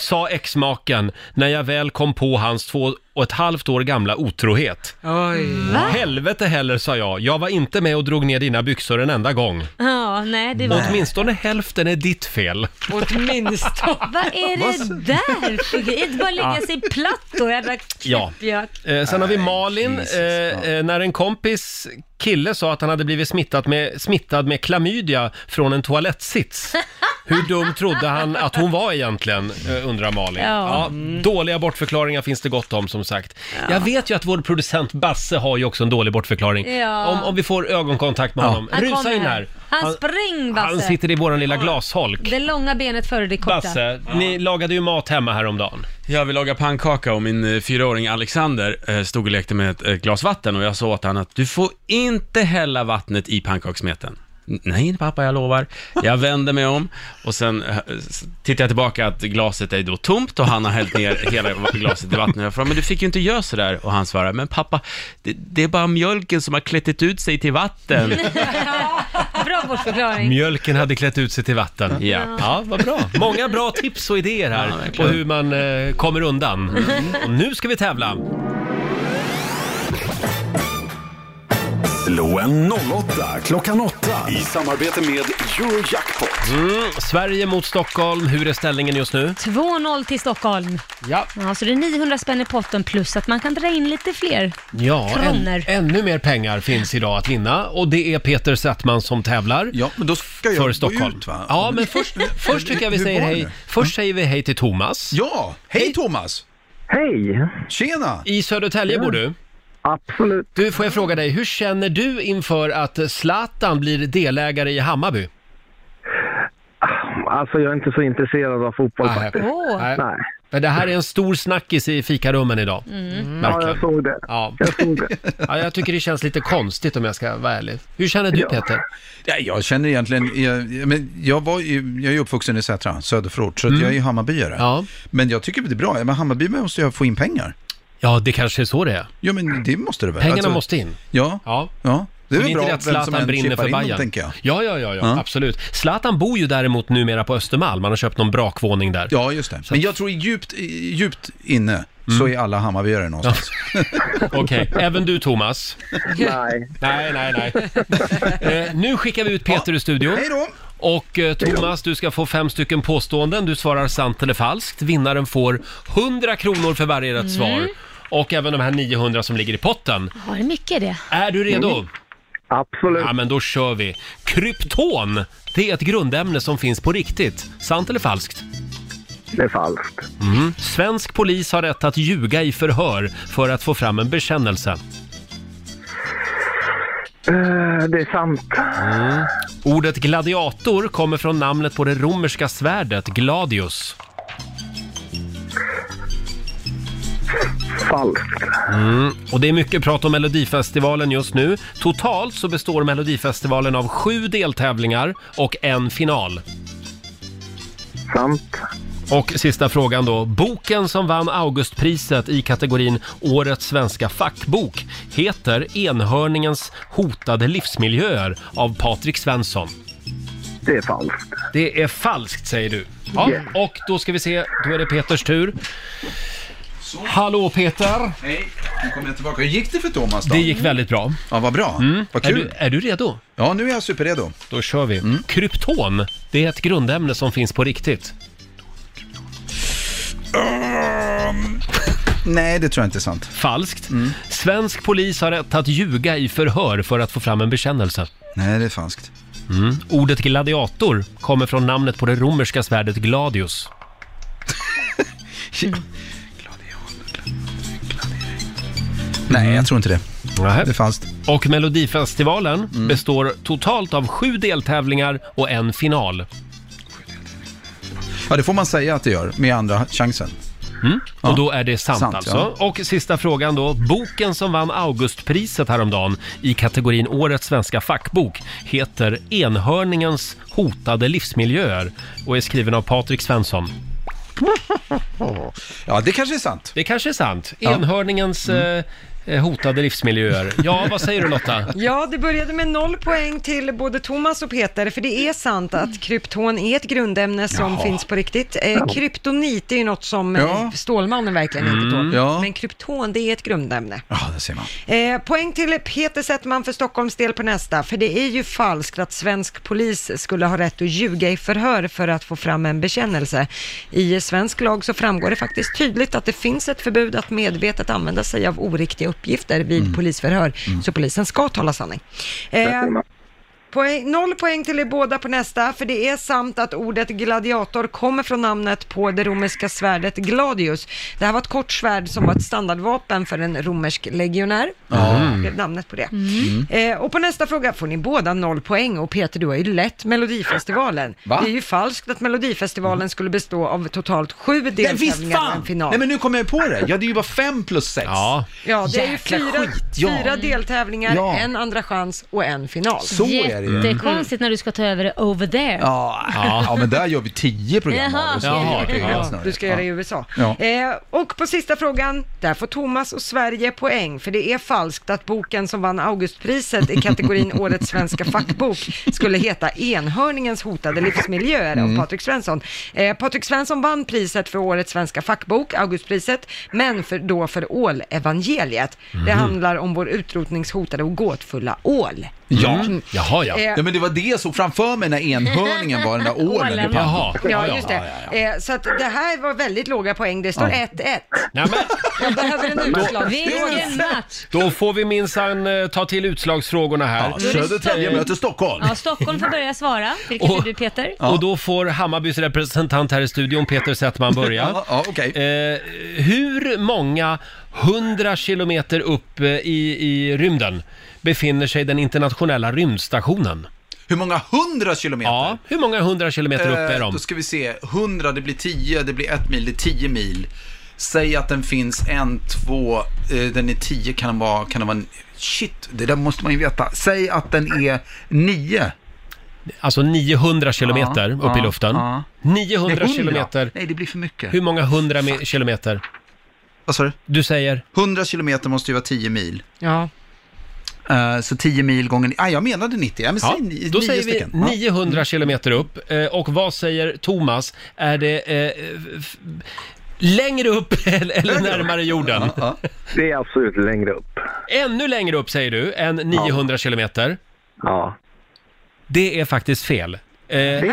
A: sa exmaken när jag väl kom på hans två och ett halvt år gamla otrohet.
C: Oj.
A: Helvete heller, sa jag. Jag var inte med och drog ner dina byxor en enda gång.
B: Ja, nej det var...
A: Åtminstone hälften är ditt fel.
C: Åtminstone.
B: Vad är det där för grej? Inte bara lägga
A: Ja.
B: sig platt då, jävla
A: Ja.
B: knäppjök.
A: Eh, sen har vi Malin. Eh, eh, när en kompis kille sa att han hade blivit smittat med, smittad med klamydia från en toalettsits. Hur dum trodde han att hon var egentligen, eh, undrar Malin.
E: Ja.
A: Ja,
B: Mm.
A: dåliga bortförklaringar finns det gott om, som sagt. Jag vet ju att vår producent Basse har ju också en dålig bortförklaring.
B: Ja.
A: Om, om vi får ögonkontakt med honom.
B: Han
A: Rusa
B: kommer
A: in här.
B: Han, spring Basse.
A: han sitter i våran lilla glasholk.
B: Det långa benet före det korta.
A: Basse, ni lagade ju mat hemma häromdagen.
F: Jag vill laga pannkaka och min eh, fyraåring Alexander eh, stod och lekte med ett, ett glas vatten och jag sa åt honom att du får inte hälla vattnet i pannkakssmeten. "N- Nej pappa, jag lovar. Jag vänder mig om och sen eh, s- tittar jag tillbaka att glaset är då tomt och han har hällt ner hela va- glaset i vattnet. Jag frågar, men du fick ju inte göra sådär. Och han svarar, men pappa, det, det är bara mjölken som har klättit ut sig till vatten.
B: Bra bortförklaring.
A: Mjölken hade klätt ut sig till vatten.
F: Ja.
A: ja vad bra. Många bra tips och idéer här på hur man eh, kommer undan.
L: Mm.
A: Och nu ska vi tävla.
D: Slå en 08 klockan 8 i samarbete med Eurojackpot.
A: Mm, Sverige mot Stockholm. Hur är ställningen just nu?
B: 2-0 till Stockholm.
A: Ja.
B: Så det är 900 spänn i potten plus att man kan dra in lite fler.
A: Ja,
B: Kronor.
A: ännu mer pengar finns idag att vinna och det är Peter Settman som tävlar. Ja,
L: men då ska
A: jag för Stockholm.
L: ut, va?
A: Ja, men först, först tycker jag vi
L: Hur
A: säger
L: var det
A: hej.
L: nu?
A: Först säger vi hej till Thomas.
L: Ja, hej, Thomas!
P: Hej!
L: Tjena!
A: I Södertälje bor du?
P: Absolut.
A: Du, får jag fråga dig, hur känner du inför att Zlatan blir delägare i Hammarby?
P: alltså jag är inte så intresserad av fotboll faktiskt.
A: Nej.
P: Nej.
A: Men det här är en stor snackis i fikarummen idag.
P: Mm.
A: Verkligen.
P: Ja, jag såg det.
A: Ja.
P: Jag såg det.
A: Ja, jag tycker det känns lite konstigt om jag ska vara ärlig. Hur känner du Peter?
L: Ja, jag känner egentligen, jag, jag men jag, var ju, jag är ju uppvuxen i Sätra, söderförort, så att
A: Mm.
L: jag är ju Hammarbyare. Men jag tycker det är bra, men Hammarby måste ju få in pengar.
A: Ja, det kanske är så det är. Alltså-
L: Ja, men det måste det väl? Alltså,
A: Pengarna måste in.
L: Ja.
A: Ja.
L: ja. Det är
A: Så
L: väl
A: inte
L: bra
A: att
L: vem som
A: Zlatan
L: än
A: brinner
L: chippar
A: för
L: in dem,
A: Bajen.
L: tänker jag.
A: Ja, ja, ja, ja,
L: Ja.
A: absolut. Zlatan bor ju däremot numera på Östermalm. Han har köpt någon brakvåning där.
L: Ja, just det. Mm. Men jag tror djupt, djupt inne så är alla Hammarbyare någonstans.
A: Okej, även du Thomas.
P: Nej.
A: Nej, nej, nej. Eh, nu skickar vi ut Peter ur studion.
L: Hej då!
A: Och eh, Thomas, du ska få fem stycken påståenden. Du svarar sant eller falskt. Vinnaren får 100 kronor för varje rätt
B: Mm.
A: svar. Och även de här 900 som ligger i potten.
B: Ja, det är mycket det.
A: Är du redo?
B: Mm.
A: Absolut. Ja, men då kör vi. Krypton, det är ett grundämne som finns på riktigt. Sant eller falskt?
P: Det är falskt.
A: Mm. Svensk polis har rätt att ljuga i förhör för att få fram en bekännelse.
P: Eh, det är sant.
A: Mm. Ordet gladiator kommer från namnet på det romerska svärdet gladius.
P: Falskt.
A: Mm. Och det är mycket prat om Melodifestivalen just nu. Totalt så består Melodifestivalen av sju deltävlingar och en final.
P: Sant.
A: Och sista frågan då. Boken som vann Augustpriset i kategorin Årets svenska fackbok heter Enhörningens hotade livsmiljöer av Patrik Svensson.
P: Det är falskt.
A: Det är falskt säger du. Ja,
P: Yeah.
A: och då ska vi se, då är det Peters tur. Hallå Peter!
L: Hej, nu kommer jag tillbaka. Hur gick det för Thomas då?
A: Det gick väldigt bra.
L: Ja, vad bra. Vad
A: Mm. Är
L: kul.
A: du, är du redo?
L: Ja, nu är jag superredo.
A: Då kör vi. Krypton, det är ett grundämne som finns på riktigt.
L: Nej, det tror jag inte är sant.
A: Falskt. Svensk polis har rätt att ljuga i förhör för att få fram en bekännelse.
L: Nej, det är falskt.
A: Mm. Ordet gladiator kommer från namnet på det romerska svärdet gladius.
L: Nej, jag tror inte det. Mm.
A: Det är
L: falskt.
A: Och Melodifestivalen består totalt av sju deltävlingar och en final.
L: Ja, det får man säga att det gör, med andra chansen. Ja.
A: Mm. Och då är det sant,
L: Sant,
A: alltså. Och sista frågan då. Boken som vann Augustpriset häromdagen i kategorin Årets svenska fackbok heter Enhörningens hotade livsmiljöer och är skriven av Patrik Svensson.
L: Ja, det kanske är sant.
A: Det kanske är sant.
L: Ja. Mm.
A: Enhörningens eh, hotade livsmiljöer. Ja, vad säger du Lotta?
C: Ja, det började med noll poäng till både Thomas och Peter, för det är sant att krypton är ett grundämne som
L: Jaha.
C: finns på riktigt. Eh,
L: Ja.
C: kryptonit är ju något som
L: Ja.
C: eh, Stålmannen verkligen
L: Mm.
C: inte tål,
L: Ja.
C: men krypton det är ett grundämne.
L: Ja, det ser man.
C: Eh, poäng till Peter Settman för Stockholms del på nästa, för det är ju falskt att svensk polis skulle ha rätt att ljuga i förhör för att få fram en bekännelse. I svensk lag så framgår det faktiskt tydligt att det finns ett förbud att medvetet använda sig av oriktiga uppgifter vid polisförhör, så polisen ska tala sanning. Eh, Poäng, noll poäng till er båda på nästa, för det är sant att ordet gladiator kommer från namnet på det romerska svärdet gladius. Det här var ett kort svärd som var ett standardvapen för en romersk legionär.
E: Ja.
L: Mm.
C: Det blev namnet på det. Eh, och på nästa fråga får ni båda noll poäng och Peter, du har ju lätt Melodifestivalen.
L: Va? Mm.
C: Det är ju falskt att Melodifestivalen skulle bestå av totalt sju deltävlingar och en final.
L: Nej, men nu kommer jag på det. Ja, det är ju bara fem plus sex. Ja,
C: Ja, det är ju fyra, fyra deltävlingar,
L: Ja.
C: en andra chans och en final.
L: Så är det ju. Mm.
B: Jättekonstigt när du ska ta över det over there.
L: Ja, ja. men där gör vi tio program.
B: Jaha.
L: av oss.
B: Jaha,
L: Det är
B: ja.
L: snarare.
C: Du ska göra det i USA.
L: Ja.
C: Eh, och på sista frågan, där får Thomas och Sverige poäng, för det är falskt att boken som vann Augustpriset i kategorin Årets svenska fackbok skulle heta Enhörningens hotade livsmiljöer
E: Mm.
C: av Patrik Svensson. Eh, Patrik Svensson vann priset för Årets svenska fackbok, Augustpriset, men för, då för ålevangeliet. Det
L: Mm.
C: handlar om vår utrotningshotade och gåtfulla ål.
L: Ja. Eh,
C: Mm.
A: Jaha,
C: ja.
L: ja. men det var det jag såg framför mig när enhörningen var den där ålen. i pannan.
C: Ja, just det. Eh, så att det här var väldigt låga poäng. Det står
A: Ja.
C: 1-1.
A: Nej,
C: Jag behöver en
A: Då-
C: utslag.
B: Vilken match!
A: Då får vi minsann eh, ta till utslagsfrågorna här.
L: Ja, Södertälje möter Stockholm.
B: Ja, Stockholm får börja svara. Vilket
A: Och-
B: är du Peter?
A: Och då får Hammarbys representant här i studion, Peter Settman, börja.
L: Ja,
A: eh, hur många hundra kilometer upp eh, i, i rymden befinner sig den internationella rymdstationen?
L: Hur många hundra kilometer? Ja,
A: hur många hundra kilometer upp är de?
L: Eh, Då ska vi se, hundra, det blir tio, det blir ett mil, det är tio mil. Säg att den finns en, två, eh, den är tio, kan den vara, kan den vara, shit, det där måste man ju veta. Säg att den är nio.
A: Alltså 900 kilometer
L: Ja,
A: upp i
L: ja,
A: luften.
L: ja.
A: 900
L: Nej, 100.
A: kilometer.
L: Nej, det blir för mycket.
A: Hur många hundra me- kilometer?
L: Vad sa du?
A: Du säger?
L: 100 kilometer måste ju vara 10 mil.
C: Ja.
L: Eh, Så 10 mil gånger... Ah, jag menade 90. Ja, men
A: Ja,
L: säg ni-
A: då
L: nio
A: säger vi
L: stycken. Ja.
A: 900 kilometer upp. Eh, Och vad säger Thomas? Är det eh, f- längre upp eller eller närmare jorden?
P: Det är absolut längre upp.
A: Ännu längre upp säger du än 900 kilometer?
P: Ja.
A: Det är faktiskt fel. Eh,
P: fel.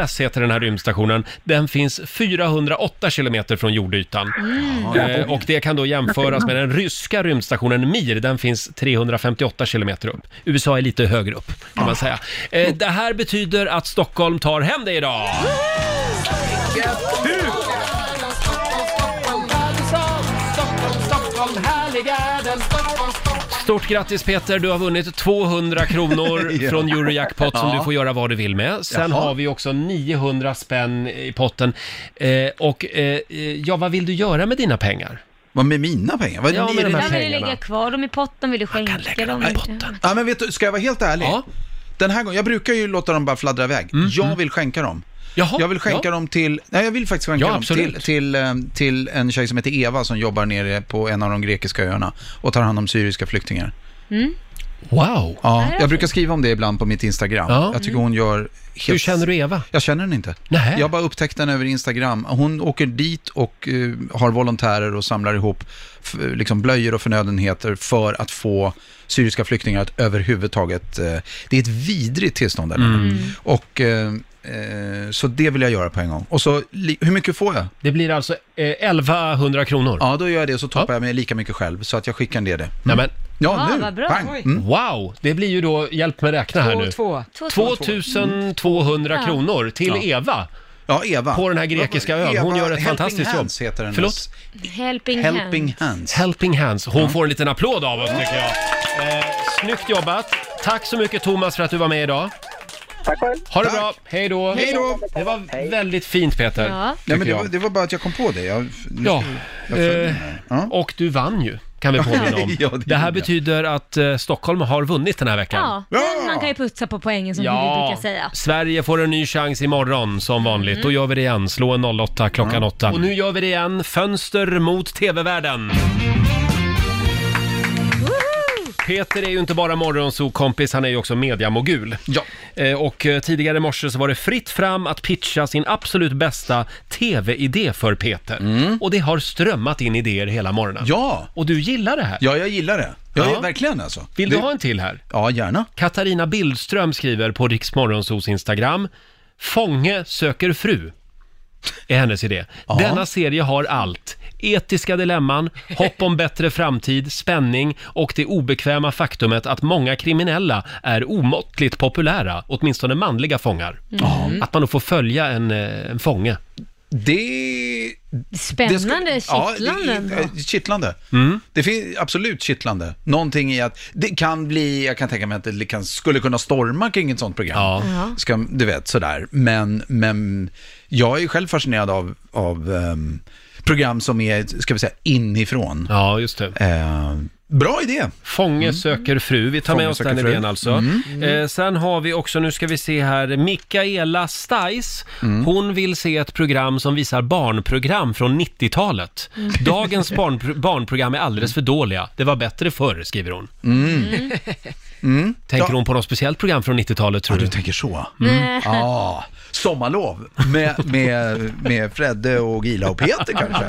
A: ISS heter den här rymdstationen. Den finns 408 kilometer från jordytan.
E: Ja.
A: Eh, och det kan då jämföras med den ryska rymdstationen Mir. Den finns 358 kilometer upp. USA är lite högre upp kan man säga. Eh, det här betyder att Stockholm tar hem det idag. Stort grattis Peter, du har vunnit 200 kronor
E: Ja.
A: från Eurojackpot som
E: Ja.
A: du får göra vad du vill med. Sen
E: Jaha.
A: har vi också 900 spänn i potten. Eh, och eh, eh, ja, vad vill du göra med dina pengar?
L: Vad med mina pengar? Vad
A: ja, med de här
B: Han ville
A: pengarna.
B: lägga kvar dem i potten, ville skänka dem. i potten.
L: Ja, men vet du, ska jag vara helt ärlig? Den här gången, jag brukar ju låta dem bara fladdra iväg.
A: Mm,
L: Jag vill skänka dem. jag vill skänka
E: ja.
L: dem till, nej jag vill faktiskt skänka
E: Ja,
L: dem
E: absolut.
L: till, till, eh, till en tjej som heter Eva som jobbar nere på en av de grekiska öarna och tar hand om syriska flyktingar.
E: Mm.
A: Wow!
L: Ja, jag brukar skriva om det ibland på mitt Instagram.
E: Ja.
L: Jag tycker hon gör helt...
E: Hur känner
A: du Eva?
L: Jag känner henne inte.
A: Nähä.
L: Jag bara upptäckte henne över Instagram. Hon åker dit och eh, har volontärer och samlar ihop f- liksom blöjor och förnödenheter för att få syriska flyktingar att överhuvudtaget... eh, det är ett vidrigt tillstånd där nere.
A: Mm.
L: Och eh, eh, Så det vill jag göra på en gång. Och så, li- hur mycket får jag?
A: Det blir alltså eh, 1100 kronor.
L: Ja, då gör jag det och så toppar jag mig lika mycket själv. Så att jag skickar ner det. Mm.
A: Nämen.
L: Ja,
A: Ah,
L: nu!
A: vad bra.
L: Pang. Mm.
A: Wow, det blir ju då, hjälp mig räkna här nu.
C: Två, två.
A: 2200
L: Mm.
A: kronor till
L: Ja.
A: Eva.
L: Ja, Eva.
A: På den här grekiska ön. Hon
L: Eva
A: gör ett
L: Helping
A: fantastiskt jobb.
L: Hands heter hennes.
A: Förlåt?
B: Helping, hands.
L: Hands.
A: Helping Hands. Hon får en liten applåd av oss tycker jag. Eh, snyggt jobbat. Tack så mycket Thomas för att du var med idag.
P: Tack själv.
A: Ha det
L: Tack.
A: bra. Hej då.
L: Hej då.
A: Det var väldigt fint Peter.
L: Ja.
A: tycker
L: Nej, men det,
A: jag.
L: var, det var bara att jag kom på det. Jag,
A: Ja,
L: Mm. jag följer
A: eh,
L: den
A: och du vann ju, kan vi påminna om.
L: Ja,
A: det,
L: det
A: här
L: gjorde jag.
A: betyder att eh, Stockholm har vunnit den här veckan.
B: Ja, men man kan ju putsa på poängen som vi brukar säga.
A: Sverige får en ny chans imorgon som vanligt.
B: Mm.
A: Då gör vi det igen. Slå en 08 klockan 8. Och nu gör vi det igen. Fönster mot TV-världen. Peter är ju inte bara morgonsokompis, han är ju också mediamogul.
L: Ja.
A: Och eh, tidigare i morse så var det fritt fram att pitcha sin absolut bästa TV-idé för Peter. Och det har strömmat in idéer hela morgonen.
L: Ja!
A: Och du gillar det här?
L: Ja, jag gillar det. Ja,
A: Ja.
L: ja. verkligen alltså.
A: Vill du
L: Det-
A: ha en till här?
L: Ja, gärna.
A: Katarina Bildström skriver på Rix Morgonzos Instagram. Fånge söker fru. Är hennes idé. Denna serie har allt. Etiska dilemman, hopp om bättre framtid, spänning och det obekväma faktumet att många kriminella är omåttligt populära, åtminstone manliga fångar.
L: Mm.
A: Att man då får följa en, eh, en fånge.
L: Det...
B: Spännande,
L: det ska- ja, det-
B: kittlande ändå.
L: eh, Kittlande.
A: Mm.
L: Det finns absolut kittlande. Någonting i att det kan bli, jag kan tänka mig att det kan, skulle kunna storma kring ett sånt program.
E: Ja.
L: Ska, du vet, sådär. Men, men jag är själv fascinerad av, av ehm, program som är, ska vi säga, inifrån. Eh,
A: Ja, just det.
L: bra idé!
A: Fånge söker fru. Vi tar
L: Mm. Fånge
A: med oss
L: söker
A: den
L: fru.
A: idén alltså.
L: Mm.
A: Eh, sen har vi också, nu ska vi se här, Mikaela Stais.
L: Mm.
A: Hon vill se ett program som visar barnprogram från 90-talet.
E: Mm.
A: Dagens barnpro- barnprogram är alldeles för dåliga. Det var bättre förr, skriver hon.
L: Mm.
A: Tänker hon på något speciellt program från 90-talet tror
L: Ja,
A: du?
L: du tänker så?
A: Mm.
L: Ja, sommarlov med, med, med Fredde och Gila och Peter kanske.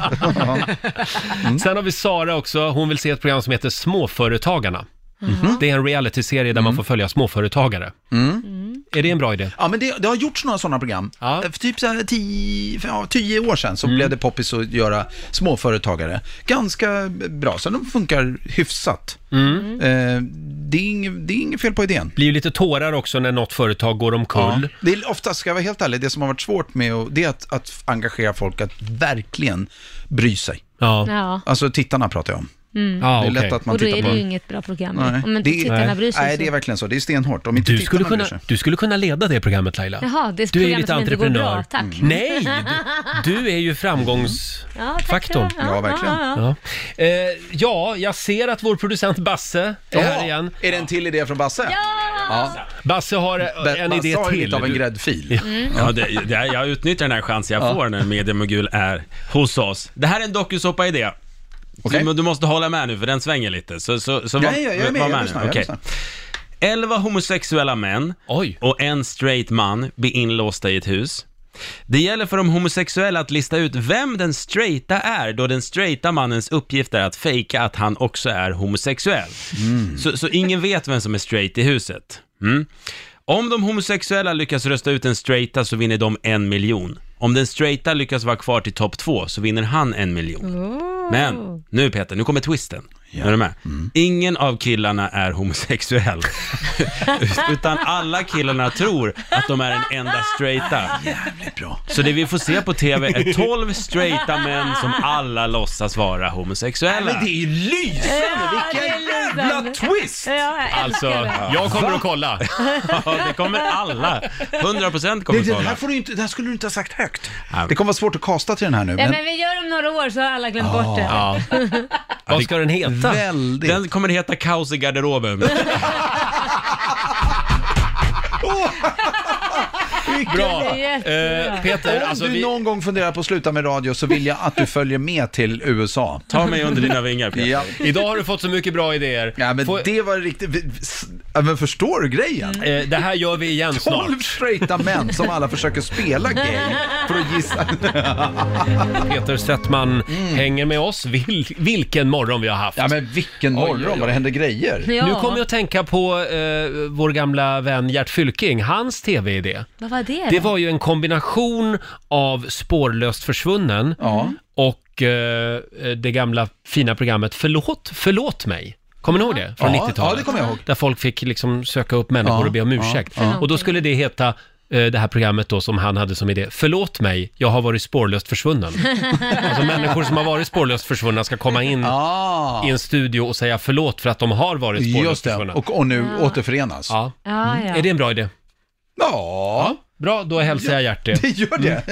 A: Sen har vi Sara också. Hon vill se ett program som heter Småföretagarna.
L: Mm-hmm.
A: Det är en realityserie
L: Mm.
A: där man får följa småföretagare. Är det en bra idé?
L: Ja, men det, det har gjorts några sådana program. Eh, För typ så här tio, ja, tio år sedan så blev det poppis att göra småföretagare. Ganska bra, så de funkar hyfsat. Eh, det, är inget, det är inget fel på idén.
A: blir ju lite tårar också när något företag går omkull.
L: Ja. Det är ofta, ska jag vara helt ärlig, det som har varit svårt med att- det är att, att engagera folk att verkligen bry sig.
A: Ja.
B: Ja.
L: Alltså tittarna pratar jag om.
B: Mm.
L: det är lätt att man
B: och då
L: tittar
B: är
L: på...
B: det ju inget bra program. Om inte tittarna bryr sig.
L: Nej,
B: så-
L: det är verkligen så. Det är stenhårt. Om inte
A: Du
L: tittarna
A: skulle,
L: bryr
A: kunna,
L: sig.
A: du skulle kunna leda det programmet Laila.
B: Jaha, det är ett
A: du är ju
B: program
A: lite
B: som inte går
A: entreprenör. Mm.
B: bra, tack.
A: Nej, Du är ju framgångsfaktorn.
B: Ja, tack, ja, ja, Ja, verkligen. ja,
A: Ja. Eh, ja, jag ser att vår producent Basse är
L: Ja,
A: här igen.
L: Är det en till idé från Basse?
A: Ja! Basse har eh,
L: Ba-
A: en
L: Basse
A: idé
L: har ju
A: till.
L: lite av en
A: Du-
L: gräddfil.
A: Mm.
F: Ja, det, det, jag utnyttjar den här chansen jag får när Media Mogul är hos oss. Det här är en dokusåpa-idé. Du, du måste hålla med nu för den svänger lite. Så, så, så
L: Ja,
F: var-
L: ja, jag är med,
F: var
L: jag
F: nu.
L: lyssnar, jag
F: Okej.
L: lyssnar.
F: Elva homosexuella män och en straight man blir inlåsta i ett hus. Det gäller för de homosexuella att lista ut vem den straighta är, då den straighta mannens uppgift är att fejka att han också är homosexuell.
L: Mm.
F: Så, så ingen vet vem som är straight i huset. Mm. Om de homosexuella lyckas rösta ut den straighta så vinner de en miljon. Om den straighta lyckas vara kvar till topp två så vinner han en miljon. Men nu Peter, nu kommer twisten. Är du med?
L: Mm.
F: Ingen av killarna är homosexuell. Utan alla killarna tror att de är den enda straighta.
L: Jävligt bra.
F: Så det vi får se på TV är 12 straighta män som alla låtsas vara homosexuella.
L: Men det är ju lysande! Vilken jävla twist!
F: Alltså, jag kommer att kolla. Ja, det kommer alla. 100% kommer
L: Det, det,
F: att kolla.
L: här får du inte, det här skulle du inte ha sagt högt. Det kommer vara svårt att kasta till den här nu.
B: Ja,
L: Men
B: men vi gör om några år så har alla glömt
A: Ah,
L: Ja.
B: bort det.
L: Ja.
A: Vad ska den heta?
L: Väldigt.
F: Den kommer heta Kaos i garderoben.
L: Bra.
B: Det är jättebra.
L: Eh, Peter, om
F: alltså
L: du
F: vi-
L: någon gång funderar på att sluta med radio så vill jag att du följer med till USA.
F: Ta mig under dina vingar, Peter.
L: Ja.
A: Idag har du fått så mycket bra idéer.
L: Ja, men Mm. det var riktigt... vi- s- Ja, men förstår du grejen?
A: Eh, det här gör vi igen snart.
L: 12 straighta män som alla försöker spela gay för att gissa.
A: Peter Settman hänger med oss. Vil, vilken morgon vi har haft. Ja,
L: Mm. men vilken morgon, vad det händer grejer.
B: Ja.
A: Nu kommer jag att tänka på eh, vår gamla vän Gert Fylking, hans tv-idé.
B: Vad var det då?
A: Det var ju en kombination av Spårlöst försvunnen och eh, det gamla fina programmet Förlåt, förlåt mig. Kommer ni ihåg det? Från
L: Ja,
A: 90-talet.
L: ja, det kommer jag ihåg.
A: Där folk fick liksom söka upp människor
L: Ja,
A: och be om
L: ja,
A: ursäkt.
L: ja.
A: Och då skulle det heta eh, det här programmet då som han hade som idé. Förlåt mig, jag har varit spårlöst försvunnen. alltså människor som har varit spårlöst försvunna ska komma in
L: Ah.
A: i en studio och säga förlåt för att de har varit spårlöst
L: Just det,
A: försvunna.
L: och, och nu
B: Ja.
L: återförenas.
A: Ja.
B: Ja, ja.
A: Mm, Är det en bra idé?
L: Ja.
A: Bra, då hälsar jag Gert det.
L: Det gör det.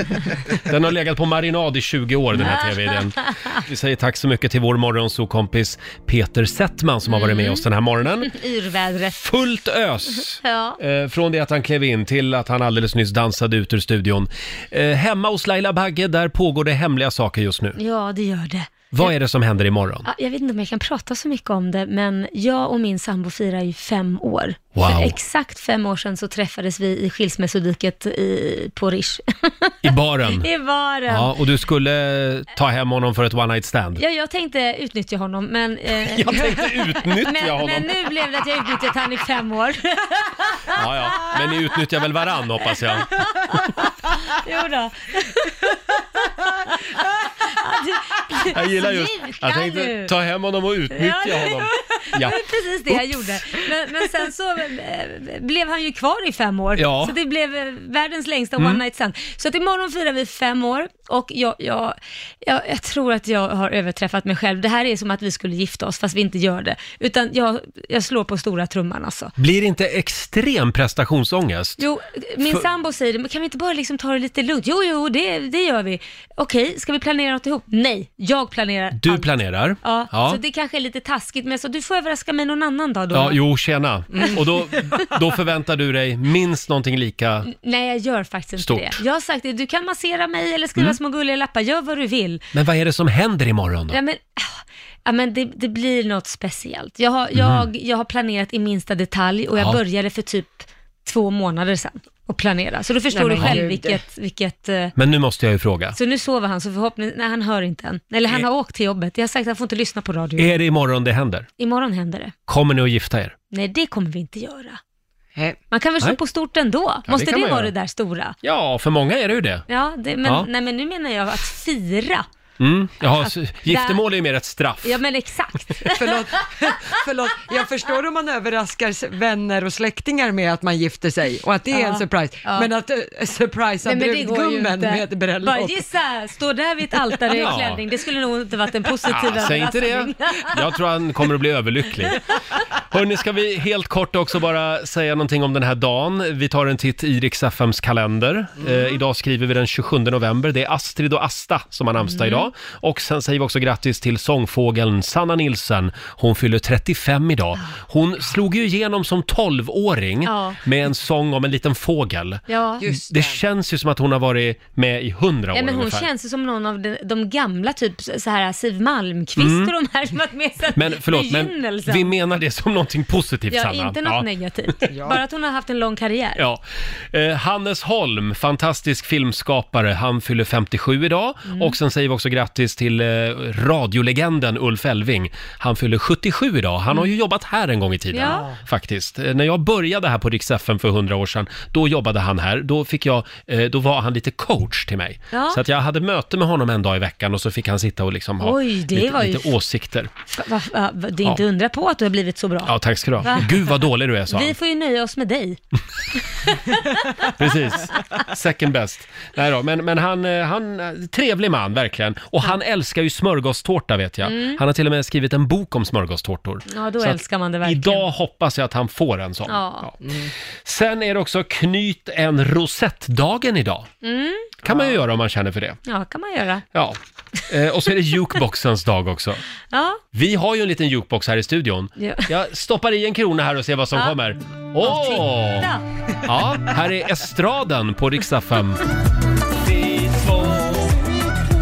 A: Den har legat på marinad i 20 år den här tv-idén. Vi säger tack så mycket till vår morgonsokompis Peter Settman som har varit med oss den här morgonen.
B: Yrvädret.
A: Fullt ös!
B: Ja.
A: Eh, från det att han klev in till att han alldeles nyss dansade ut ur studion. Eh, hemma hos Laila Bagge, där pågår det hemliga saker just nu.
B: ja, det gör det.
A: Vad är det som händer imorgon?
B: Ja, Jag vet inte om jag kan prata så mycket om det, men jag och min sambo firar ju fem år.
A: Wow.
B: För exakt fem år sedan så träffades vi i skilsmässodiket i, på Rish.
A: I baren?
B: I baren.
A: Ja, och du skulle ta hem honom för ett one night stand?
B: Ja, jag tänkte utnyttja honom, men... eh,
A: Jag tänkte utnyttja
B: men,
A: honom.
B: Men nu blev det att jag utnyttjat han i fem år.
A: Ja, ja. Men ni utnyttjar väl varann hoppas jag?
B: jo då.
A: Jag gillar just, jag
B: Kan
A: tänkte
B: du?
A: ta hem honom och utnyttja honom.
B: Det
A: Ja.
B: var precis det jag gjorde. Men, men sen så eh, blev han ju kvar i fem år.
A: Ja.
B: Så det blev eh, världens längsta
A: Mm.
B: one night stand. Så att imorgon firar vi fem år och jag, jag, jag, jag tror att jag har överträffat mig själv. Det här är som att vi skulle gifta oss fast vi inte gör det. Utan jag, jag slår på stora trumman alltså.
A: Blir det inte extrem prestationsångest?
B: Jo, min
A: För-
B: sambo säger det, men kan vi inte bara liksom ta det lite lugnt? Jo, jo, det, det gör vi. Okej, ska vi planera något ihop? Nej, jag planerar
A: Du planerar?
B: Ja, så det kanske är lite taskigt, men så du får överraska mig någon annan dag då.
A: ja jo, tjena.
B: Mm.
A: Och då, då förväntar du dig minst någonting lika.
B: Nej, jag gör faktiskt inte
A: Stort.
B: det. Jag har sagt det, du kan massera mig eller skriva
A: Mm.
B: små gulliga lappar, gör vad du vill.
A: Men vad är det som händer imorgon då?
B: Ja, men, ah, ja, men det, det blir något speciellt. Jag har, jag, jag har planerat i minsta detalj och jag
A: Mm. Ja.
B: började för typ två månader sedan att planera. Så då förstår
A: Nej,
B: du
A: men
B: själv
A: gud.
B: vilket... vilket eh,
A: Men nu måste jag ju fråga.
B: så nu sover han, så förhoppningsvis, nej han hör inte än. Eller han
A: Är-
B: har åkt till jobbet. Jag har sagt att han får inte lyssna på radio.
A: Är det imorgon det händer?
B: Imorgon händer det.
A: Kommer ni att gifta er?
B: Nej, det kommer vi inte göra. Man kan väl slå
A: Nej.
B: på stort ändå?
A: det
B: Måste
A: kan
B: det
A: man
B: vara
A: göra.
B: det där stora?
A: Ja, för många är det ju det.
B: Ja, det, men,
A: Ja.
B: Nej, men nu menar jag att fira.
A: Mm. Jaha, så
B: Att-
A: giftermål är ju mer ett straff.
B: Ja men exakt.
C: förlåt, förlåt, jag förstår om man överraskar s- vänner och släktingar med att man gifter sig och att det är
B: Ja,
C: en surprise.
B: ja.
C: Men att uh, surprisa
B: Nej, men det går ju
C: brudgummen
B: inte.
C: med ett bröllop.
B: Bara gissa, står där vid ett altare i
A: Ja.
B: klänning. Det skulle nog inte varit en positiv
A: Ja, Ah, säg inte det. Jag tror han kommer att bli överlycklig. Hörni, ska vi helt kort också bara säga någonting om den här dagen. Vi tar en titt i Rix FMs kalender.
B: Mm.
A: Eh, idag skriver vi den 27 november. Det är Astrid och Asta som har namnsdag
Q: Mm.
A: idag. Och sen säger vi också grattis till sångfågeln Sanna Nilsson. Hon fyller 35 idag. Hon slog ju igenom som 12-åring
B: Ah. Ja.
A: med en sång om en liten fågel.
B: Ja.
A: det känns ju som att hon har varit med i 100 år
B: Ja, men hon
A: ungefär.
B: känns ju som någon av de, de gamla, typ så här Siw Malmkvist
A: Mm.
B: och de här som varit med sedan
A: Men förlåt, men
B: begynnelsen.
A: vi menar det som någonting positivt
B: ja,
A: Sanna.
B: inte något negativt.
A: Ja.
B: Bara att hon har haft en lång karriär.
A: Ja. Eh, Hannes Holm, fantastisk filmskapare, han fyller 57 idag.
B: Mm.
A: Och sen säger vi också grattis till eh, radiolegenden Ulf Elving. Han fyller 77 idag. Han har ju jobbat här en gång i tiden,
B: Mm. Ja.
A: faktiskt. Eh, när jag började här på Rix FM för 100 år sedan, då jobbade han här. Då, fick jag, eh, då var han lite coach till mig.
B: Ja.
A: Så att jag hade möte med honom en dag i veckan och så fick han sitta och liksom ha
B: Oj, det
A: lite,
B: var ju-
A: lite åsikter.
B: Va- va- va- va- Det är
A: Ja.
B: inte undra på att du har blivit så bra.
A: Ja, tack ska du ha.
B: Va?
A: Gud vad dålig du är, Mm. sa han.
B: Vi får ju nöja oss med dig.
A: Precis. Second best. Nej då, men, men han, eh, han, eh, trevlig man verkligen. Och han älskar ju smörgåstårta vet jag.
B: Mm.
A: Han har till och med skrivit en bok om smörgåstårtor.
B: Ja, då
A: Så att
B: älskar man det verkligen.
A: Idag hoppas jag att han får en sån.
B: Ja.
A: Sen är det också knyt en rosettdagen idag.
B: Mm.
A: Kan man ju göra om man känner för det.
B: Ja, kan man göra.
A: Ja. Eh, och så är det jukeboxens dag också.
B: Ja.
A: Vi har ju en liten jukebox här i studion.
B: Ja.
A: Jag stoppar i en krona här och ser vad som
B: Ja.
A: kommer. Åh!
B: Titta! Mm,
A: Ja, här är Estraden på riksdag 5.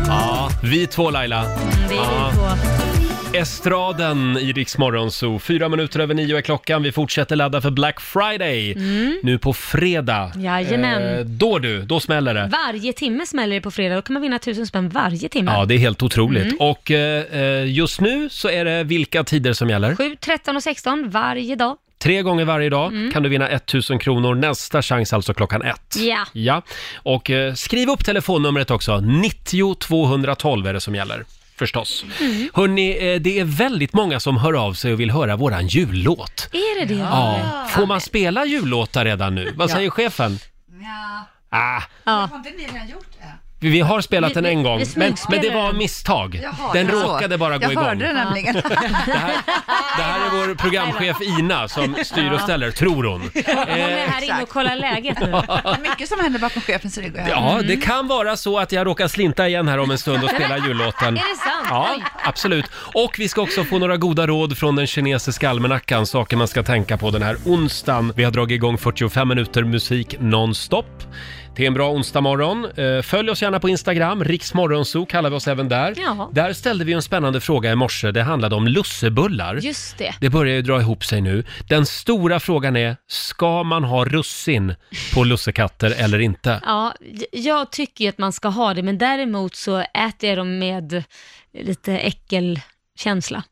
A: Ja, vi två Laila.
B: Mm, det är
A: Ja.
B: vi på.
A: Estraden i Rix Morgonzoo. Fyra minuter över nio är klockan. Vi fortsätter ladda för Black Friday
B: Mm.
A: nu på fredag. Eh,
B: Jajamän.
A: då du, då smäller det.
B: Varje timme smäller det på fredag. Då kan man vinna tusen spänn varje timme.
A: Ja, det är helt otroligt.
B: Mm.
A: Och eh, eh, just nu så är det vilka tider som gäller?
B: 7, 13 och 16 varje dag.
A: Tre gånger varje dag
B: Mm.
A: kan du vinna 1000 kronor. Nästa chans alltså klockan ett.
B: Ja.
A: Ja, och eh, skriv upp telefonnumret också. 90 212 är det som gäller. Förstås. Mm. Hörni, eh, det är väldigt många som hör av sig och vill höra våran jullåt.
B: Är det det?
A: Ja. Får man spela jullåtar redan nu? Vad
B: Ja.
A: säger chefen? Ah,
B: Ja.
A: vi vi har spelat
B: Vi-
A: den
B: vi-
A: en
B: vi
A: gång, men, men
B: smygspelar
A: det var
B: den.
A: misstag.
R: Jaha,
A: den
R: det var så.
A: råkade bara gå
R: jag
A: igång.
R: hörde det nämligen.
A: Det här är vår programchef Ina som styr och ställer, tror hon. Eh,
B: Hon är här inne och kollar läget nu.
R: Mycket som händer bakom chefens rygg.
A: Ja, det kan vara så att jag råkar slinta igen här om en stund och spela jullåten.
R: Är det sant?
A: Ja,
R: Oj.
A: absolut. Och vi ska också få några goda råd från den kinesiska almanackan, saker man ska tänka på den här onsdagen. Vi har dragit igång 45 minuter musik nonstop. Det är en bra onsdag morgon. Eh, Följ oss gärna på Instagram, riksmorgonso kallar vi oss även där.
B: Ja.
A: Där ställde vi en spännande fråga i morse. Det handlade om lussebullar.
B: Just det.
A: Det börjar ju dra ihop sig nu. Den stora frågan är, ska man ha russin på lussekatter eller inte?
B: Ja, j- jag tycker ju att man ska ha det, men däremot så äter jag dem med lite äckelkänsla.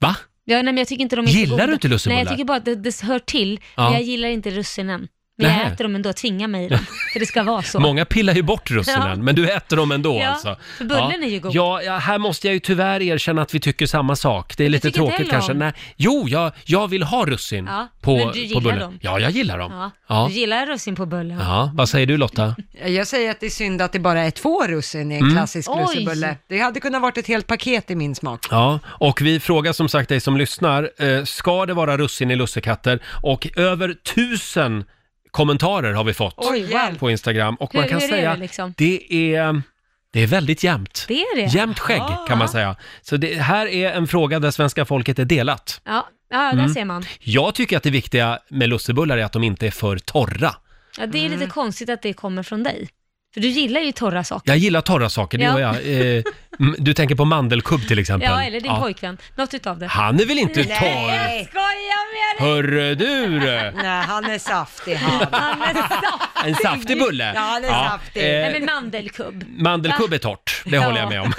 A: Va?
B: Ja, nej, men jag tycker inte de är så
A: Gillar
B: goda.
A: du inte lussebullar?
B: Nej, jag tycker bara att det, det hör till,
A: Ja.
B: men jag gillar inte russinen. Men jag
A: Nähä.
B: äter dem ändå, tvinga mig i dem, för det ska vara så.
A: Många pillar ju bort russinen,
B: Ja.
A: men du äter dem ändå
B: Ja,
A: alltså.
B: för bullen är ju god.
A: Ja, ja, här måste jag ju tyvärr erkänna att vi tycker samma sak. Det är lite
B: tycker inte
A: tråkigt
B: heller
A: kanske.
B: om-
A: Nej, jo, jag, jag vill ha russin
B: Ja,
A: på,
B: men du gillar
A: på bullen.
B: dem.
A: Ja, jag gillar dem. Ja.
B: Ja.
A: Ja.
B: Du gillar russin på bullen?
A: vad säger du Lotta?
C: Jag säger att det är synd att det bara är två russin i en
A: Mm.
C: klassisk
B: Oj.
C: lussebulle. Det hade kunnat varit ett helt paket i min smak.
A: Ja, och vi frågar som sagt dig som lyssnar, eh, ska det vara russin i lussekatter? Och över tusen kommentarer har vi fått
B: Oj, wow.
A: på Instagram. Och
B: Hur-
A: man kan
B: hur är
A: säga,
B: det liksom?
A: det är... Det är väldigt jämnt.
B: Det är det?
A: Jämnt skägg kan man säga. Så det här är en fråga där svenska folket är delat.
B: Ja, ja där
A: Mm.
B: ser man.
A: Jag tycker att det viktiga med lussebullar är att de inte är för torra.
B: Ja, det är lite konstigt att det kommer från dig. För du gillar ju torra saker.
A: Jag gillar torra saker, det
B: Ja.
A: gör jag. Eh, m- du tänker på mandelkubb till exempel.
B: Ja, eller din pojkvän. Något utav det.
A: Han är väl inte
B: Nej,
A: torr?
B: jag skojar med dig!
A: Hörru du!
C: Nej, han är saftig han.
B: Han är saftig.
A: En saftig bulle.
B: Ja, han är
A: Ja,
B: saftig.
A: eh,
B: Nej, men mandelkubb.
A: Mandelkubb
B: Va?
A: är torrt, det
B: Ja.
A: håller jag med om.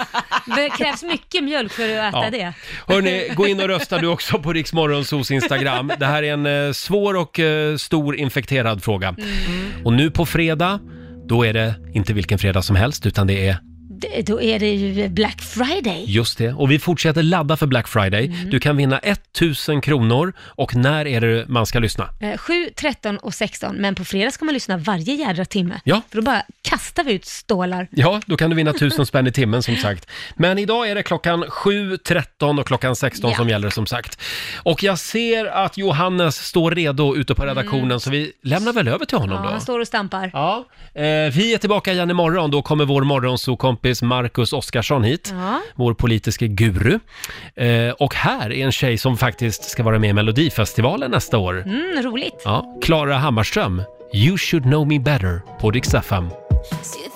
B: Det krävs mycket mjölk för att äta
A: Ja.
B: det.
A: Hörni, gå in och rösta du också på Riksmorgonsos Instagram. Det här är en eh, svår och eh, stor infekterad
B: Mm.
A: fråga. Och nu på fredag, då är det inte vilken fredag som helst, utan det är
B: d- då är det ju Black Friday.
A: Just det, och vi fortsätter ladda för Black Friday.
B: Mm.
A: Du kan vinna 1000 kronor och när är det man ska lyssna?
B: Eh, 7, 13 och 16, men på fredag ska man lyssna varje jädra timme.
A: Ja.
B: För då bara kastar vi ut stålar.
A: Ja, då kan du vinna 1000 spänn i timmen som sagt. Men idag är det klockan 7, 13 och klockan 16
B: Ja.
A: som gäller som sagt. Och jag ser att Johannes står redo ute på redaktionen så vi lämnar väl över till
B: Mm. Ja,
A: honom då.
B: han står och stampar.
A: Ja. Eh, vi är tillbaka igen imorgon. Då kommer vår morgonsokompis Marcus Oskarsson hit.
B: Ja.
A: Vår politiske guru. Eh, och här är en tjej som faktiskt ska vara med i Melodifestivalen nästa år.
B: Mm, roligt.
A: Ja, Klara Hammarström. You should know me better på Dix FM.
E: you